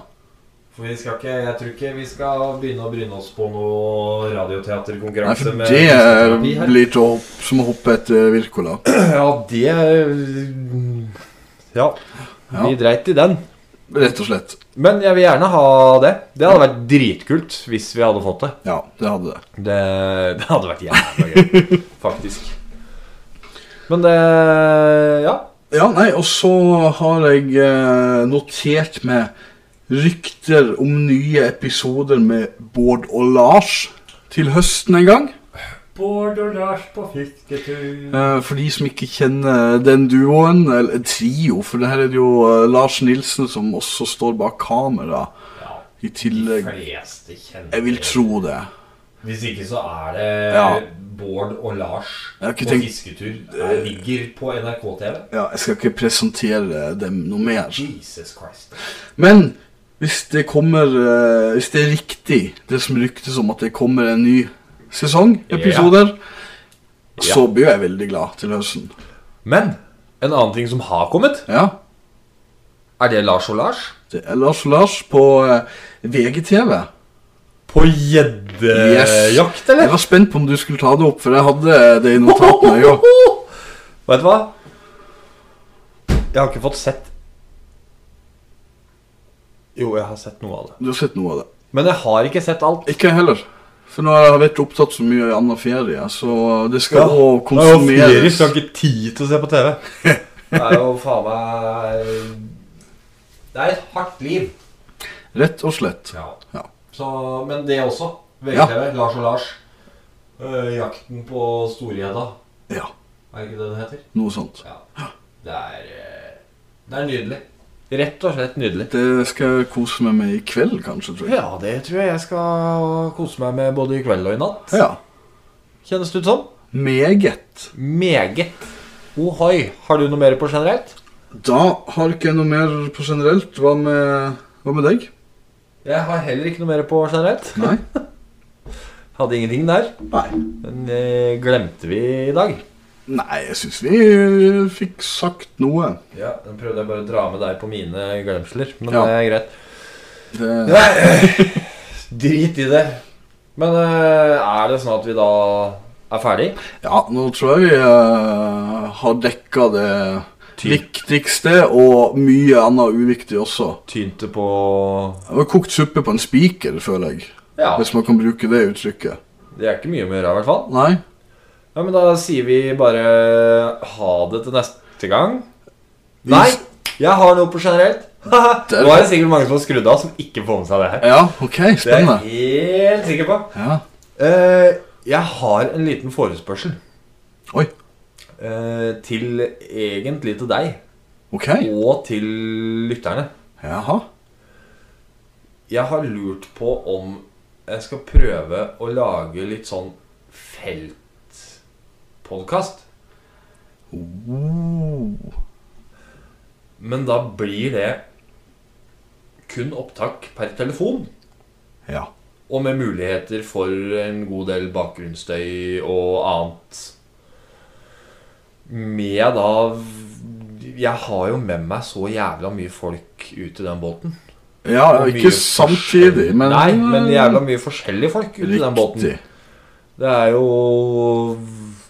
[SPEAKER 3] For vi skal ikke, jeg tror ikke vi skal begynne å bryne oss på noe
[SPEAKER 2] Nei,
[SPEAKER 3] radioteaterkonkurranse
[SPEAKER 2] for
[SPEAKER 3] med
[SPEAKER 2] det
[SPEAKER 3] musikkterapi her.
[SPEAKER 2] blir til å hoppe, som å hoppe eh, etter Virkola.
[SPEAKER 3] Ja, det Ja.
[SPEAKER 2] Ja.
[SPEAKER 3] Vi dreit i den.
[SPEAKER 2] Rett og slett.
[SPEAKER 3] Men jeg vil gjerne ha det. Det hadde vært dritkult hvis vi hadde fått det.
[SPEAKER 2] Ja, det hadde det.
[SPEAKER 3] Det, det hadde vært jævla gøy, faktisk. Men det Ja.
[SPEAKER 2] Ja, nei, og så har jeg eh, notert med rykter om nye episoder med Bård og Lars til høsten en gang.
[SPEAKER 3] Bård og Lars på fisketur.
[SPEAKER 2] Eh, For de som ikke kjenner den duoen, eller trio, for det her er det jo eh, Lars Nilsen som også står bak kamera
[SPEAKER 3] Ja,
[SPEAKER 2] i
[SPEAKER 3] de
[SPEAKER 2] tillegg.
[SPEAKER 3] fleste kjenner
[SPEAKER 2] Jeg vil tro det.
[SPEAKER 3] Hvis ikke så er det
[SPEAKER 2] Ja.
[SPEAKER 3] Bård og Lars
[SPEAKER 2] Jeg har ikke
[SPEAKER 3] på
[SPEAKER 2] tenkt-
[SPEAKER 3] fisketur. Det ligger på NRK-TV.
[SPEAKER 2] Ja, jeg skal ikke presentere dem noe mer.
[SPEAKER 3] Jesus Christ.
[SPEAKER 2] Men hvis det kommer eh, Hvis det er riktig, det som ryktes om at det kommer en ny sesong, episoder,
[SPEAKER 3] Ja.
[SPEAKER 2] så blir jeg veldig glad til høsten.
[SPEAKER 3] Men en annen ting som har kommet,
[SPEAKER 2] Ja.
[SPEAKER 3] er det Lars og Lars.
[SPEAKER 2] Det er Lars og Lars på eh, VGTV.
[SPEAKER 3] På gjeddejakt,
[SPEAKER 2] Jeg
[SPEAKER 3] Eh, eller?
[SPEAKER 2] var spent på om du skulle ta det opp, for jeg hadde det i notatene. jeg også.
[SPEAKER 3] Vet du hva? Jeg har ikke fått sett Jo, jeg har sett noe av det.
[SPEAKER 2] Du har sett noe av det.
[SPEAKER 3] Men jeg har ikke sett alt.
[SPEAKER 2] Ikke jeg heller. For nå har jeg vært opptatt så mye i annen ferie, så det skal
[SPEAKER 3] Ja,
[SPEAKER 2] også
[SPEAKER 3] Det er jo ferie,
[SPEAKER 2] konsumeres.
[SPEAKER 3] så jeg har ikke tid til å se på TV. <laughs> Det er jo faen meg Det er et hardt liv.
[SPEAKER 2] Rett og slett.
[SPEAKER 3] Ja.
[SPEAKER 2] Ja.
[SPEAKER 3] Så, men det også. VGTV, Lars og Lars. Øh, jakten på Storgjedda,
[SPEAKER 2] Ja,
[SPEAKER 3] er ikke det det heter?
[SPEAKER 2] noe sånt.
[SPEAKER 3] Ja. Det er, øh, det er nydelig. Rett og slett nydelig.
[SPEAKER 2] Det skal jeg kose meg med i kveld, kanskje, tror jeg.
[SPEAKER 3] Ja, det tror jeg jeg skal kose meg med både i kveld og i natt.
[SPEAKER 2] Ja.
[SPEAKER 3] Kjennes det ut som?
[SPEAKER 2] Meget.
[SPEAKER 3] Meget. Ohoi. Har du noe mer på generelt?
[SPEAKER 2] Da har ikke jeg noe mer på generelt. Hva med, hva med deg?
[SPEAKER 3] Jeg har heller ikke noe mer på generelt.
[SPEAKER 2] Nei?
[SPEAKER 3] Hadde ingenting der.
[SPEAKER 2] Nei,
[SPEAKER 3] Den eh, glemte vi i dag.
[SPEAKER 2] Nei jeg syns vi eh, fikk sagt noe.
[SPEAKER 3] Ja, Den prøvde jeg bare å dra med deg på mine glemsler, men
[SPEAKER 2] Ja.
[SPEAKER 3] det er greit.
[SPEAKER 2] Det,
[SPEAKER 3] <laughs> Drit i det. Men eh, er det sånn at vi da er ferdig?
[SPEAKER 2] ja, nå tror jeg vi eh, har dekka det
[SPEAKER 3] Tynt,
[SPEAKER 2] Viktigste, og mye annet uviktig også.
[SPEAKER 3] tynte på
[SPEAKER 2] Det var kokt suppe på en spiker, føler jeg.
[SPEAKER 3] Ja,
[SPEAKER 2] Hvis man kan bruke det uttrykket.
[SPEAKER 3] det er ikke mye å gjøre, i hvert fall.
[SPEAKER 2] Nei?
[SPEAKER 3] Ja, men da sier vi bare ha det til neste gang. Nei, jeg har noe på generelt. <laughs> Nå er det sikkert mange som har skrudd av, som ikke får med seg det her.
[SPEAKER 2] Ja, OK.
[SPEAKER 3] Det er
[SPEAKER 2] Spennende.
[SPEAKER 3] jeg helt sikker på.
[SPEAKER 2] Ja.
[SPEAKER 3] Eh, jeg har en liten forespørsel.
[SPEAKER 2] Oi.
[SPEAKER 3] Eh, til egentlig til deg,
[SPEAKER 2] OK.
[SPEAKER 3] og til lytterne.
[SPEAKER 2] Jaha.
[SPEAKER 3] Jeg har lurt på om jeg skal prøve å lage litt sånn feltpodkast.
[SPEAKER 2] Oh.
[SPEAKER 3] Men da blir det kun opptak per telefon.
[SPEAKER 2] Ja.
[SPEAKER 3] Og med muligheter for en god del bakgrunnsstøy og annet. Med da Jeg har jo med meg så jævla mye folk ut i den båten.
[SPEAKER 2] Ja, ja,
[SPEAKER 3] Og
[SPEAKER 2] ikke
[SPEAKER 3] mye
[SPEAKER 2] samtidig,
[SPEAKER 3] forskjell-
[SPEAKER 2] men
[SPEAKER 3] Nei, men jævla mye forskjellige folk ut i den båten.
[SPEAKER 2] Riktig.
[SPEAKER 3] Det er jo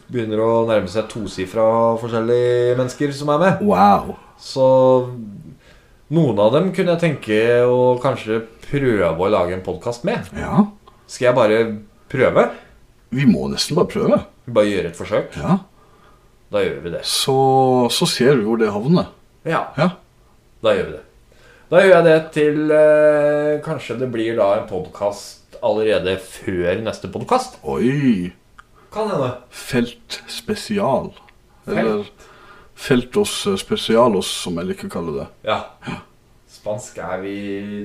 [SPEAKER 3] Begynner å nærme seg tosifra forskjellige mennesker som er med.
[SPEAKER 2] Wow.
[SPEAKER 3] Så noen av dem kunne jeg tenke å kanskje prøve å lage en podkast med.
[SPEAKER 2] Ja.
[SPEAKER 3] Skal jeg bare prøve?
[SPEAKER 2] Vi må nesten bare prøve.
[SPEAKER 3] Bare gjøre et forsøk?
[SPEAKER 2] Ja.
[SPEAKER 3] Da gjør vi det.
[SPEAKER 2] Så, så ser vi hvor det havner.
[SPEAKER 3] Ja,
[SPEAKER 2] Ja.
[SPEAKER 3] da gjør vi det. Da gjør jeg det til eh, Kanskje det blir da en podkast allerede før neste podkast?
[SPEAKER 2] Oi.
[SPEAKER 3] Kan hende.
[SPEAKER 2] Felt spesial. Eller Feltos eh, spesialos, som jeg liker å kalle det.
[SPEAKER 3] Ja. Spansk er vi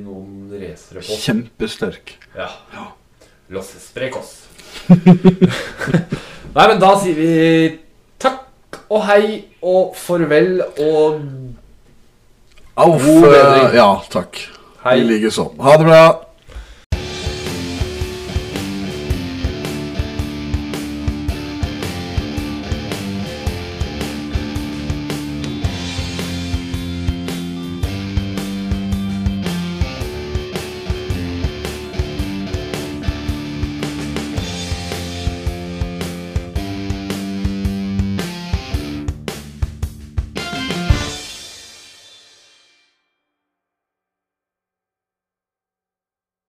[SPEAKER 3] noen racere på.
[SPEAKER 2] Kjempesterk.
[SPEAKER 3] Ja. Los sprekos. <laughs> Nei, men da sier vi takk og hei og farvel og
[SPEAKER 2] Auf.
[SPEAKER 3] God
[SPEAKER 2] eh,
[SPEAKER 3] bedring.
[SPEAKER 2] Ja, takk.
[SPEAKER 3] hei.
[SPEAKER 2] I likeså. Ha det bra.